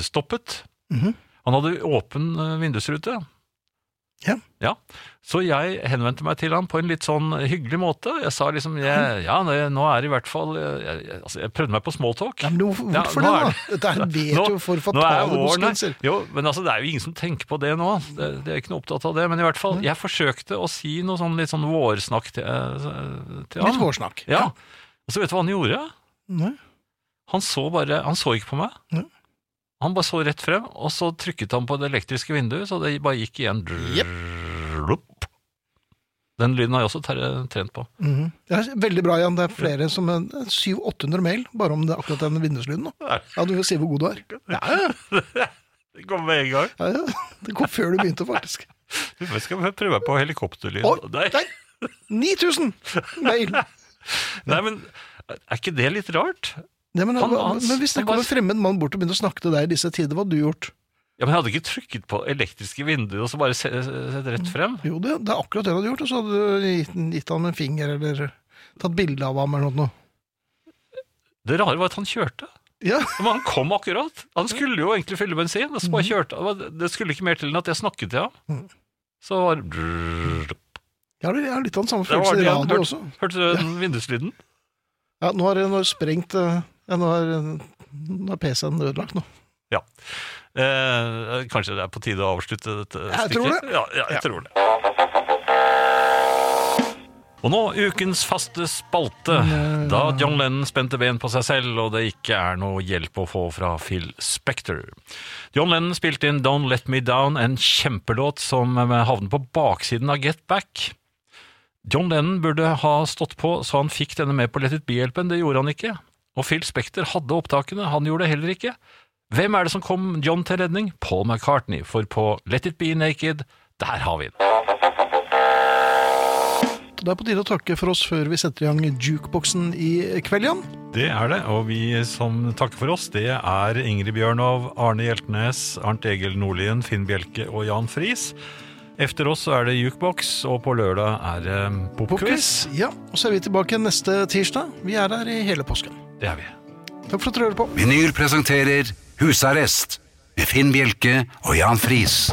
S3: stoppet.
S2: Mhm.
S3: Han hadde åpen eh, vindusrute.
S2: Ja.
S3: Så jeg henvendte meg til ham på en litt sånn hyggelig måte. Jeg sa liksom jeg, Ja, det- nå er det i hvert fall jeg, jeg, altså, jeg prøvde meg på smalltalk.
S2: Ja, men hvorfor
S3: Ja,
S2: hvorfor
S3: nå
S2: det,
S3: er
S2: da? Dette er
S3: Nå-
S2: vet jo for
S3: Nå er
S2: fatale
S3: våren her.
S2: konsekvenser.
S3: Jo, men altså, det er jo ingen som tenker på det nå. Det, det er ikke noe opptatt av det. Men i hvert fall, jeg forsøkte å si noe sånn litt sånn vårsnakk til, eh, til
S2: Litt
S3: ham.
S2: hårsnakk.
S3: Ja. Og så vet du hva han gjorde?
S2: Nei.
S3: Han så bare Han så ikke på meg.
S2: Ja.
S3: Han bare så rett frem, og så trykket han på det elektriske vinduet, så det bare gikk igjen. Dlup. Den lyden har jeg også ter- trent på.
S2: Mhm. Det er veldig bra, Jan. Det er flere som en- 700-800 mail bare om det, akkurat den vinduslyden. nå.
S3: Er-
S2: Ja, Du vil si hvor god du er. Ja, ja,
S3: Det kom med en gang.
S2: ja, ja. Det kom før du begynte, faktisk.
S3: Vi skal prøve på helikopterlyd.
S2: Oi,
S3: Nei.
S2: der! 9000 mail!
S3: Nei, men er ikke det litt rart?
S2: Nei, men,
S3: Han-
S2: hva-
S3: han-
S2: men hvis det
S3: han
S2: kommer
S3: bare-
S2: en fremmed mann bort og begynner å snakke til deg i disse tider, hva hadde du gjort?
S3: Ja, men Jeg hadde ikke trykket på elektriske vinduer og så bare se- sett rett frem.
S2: Jo, det, det er akkurat det du hadde gjort, og så hadde du gitt, gitt ham en finger eller tatt bilde av ham eller noe.
S3: Det rare var at han kjørte.
S2: Ja,
S3: Men han kom akkurat. Han skulle jo egentlig fylle bensin, og så
S2: Mm.
S3: bare kjørte han. Det skulle ikke mer til enn at jeg snakket til ham. Så var Det
S2: jeg har, jeg har litt av den samme
S3: var
S2: følelsen i
S3: det han
S2: radio
S3: hørte.
S2: også.
S3: Hørte du den vinduslyden?
S2: Ja, nå har jeg- nå har jeg sprengt eh, ja, Nå har, nå er PC-en ødelagt nå.
S3: Ja. Eh, kanskje det er på tide å avslutte dette
S2: Jeg tror det.
S3: Ja, ja, jeg tror det. Og nå ukens faste spalte,
S2: eh,
S3: da John Lennon spente ben på seg selv, og det ikke er noe hjelp å få fra Phil Spector. John Lennon spilte inn Don't Let Me Down, en kjempelåt som eh, havnet på baksiden av Get Back. John Lennon burde ha stått på, så han fikk denne med på Let It Be-hjelpen. Det gjorde han ikke. Og Phil Spector hadde opptakene, han gjorde det heller ikke. Hvem er det som kom John til redning? Paul McCartney, for på Let It Be Naked, der har vi den.
S2: Det er på tide å takke for oss før vi setter i gang jukeboksen i kveld, Jan.
S3: Det er det, og vi som takker for oss, det er Ingrid Bjørnov, Arne Hjeltnes, Arnt Egil Nordlien, Finn Bjelke og Jan Friis. Efter oss er det Jukebox, og på lørdag er det eh, Popquiz.
S2: Ja, og så er vi tilbake neste tirsdag. Vi er her i hele påsken.
S3: Det er vi.
S2: Takk for at dere hører på.
S1: Vinyl presenterer Husarrest med Finn Bjelke og Jan Friis.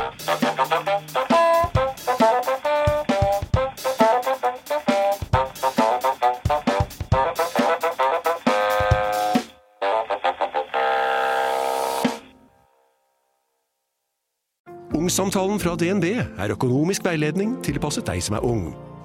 S7: Ungsamtalen fra DNB er økonomisk veiledning tilpasset deg som er ung.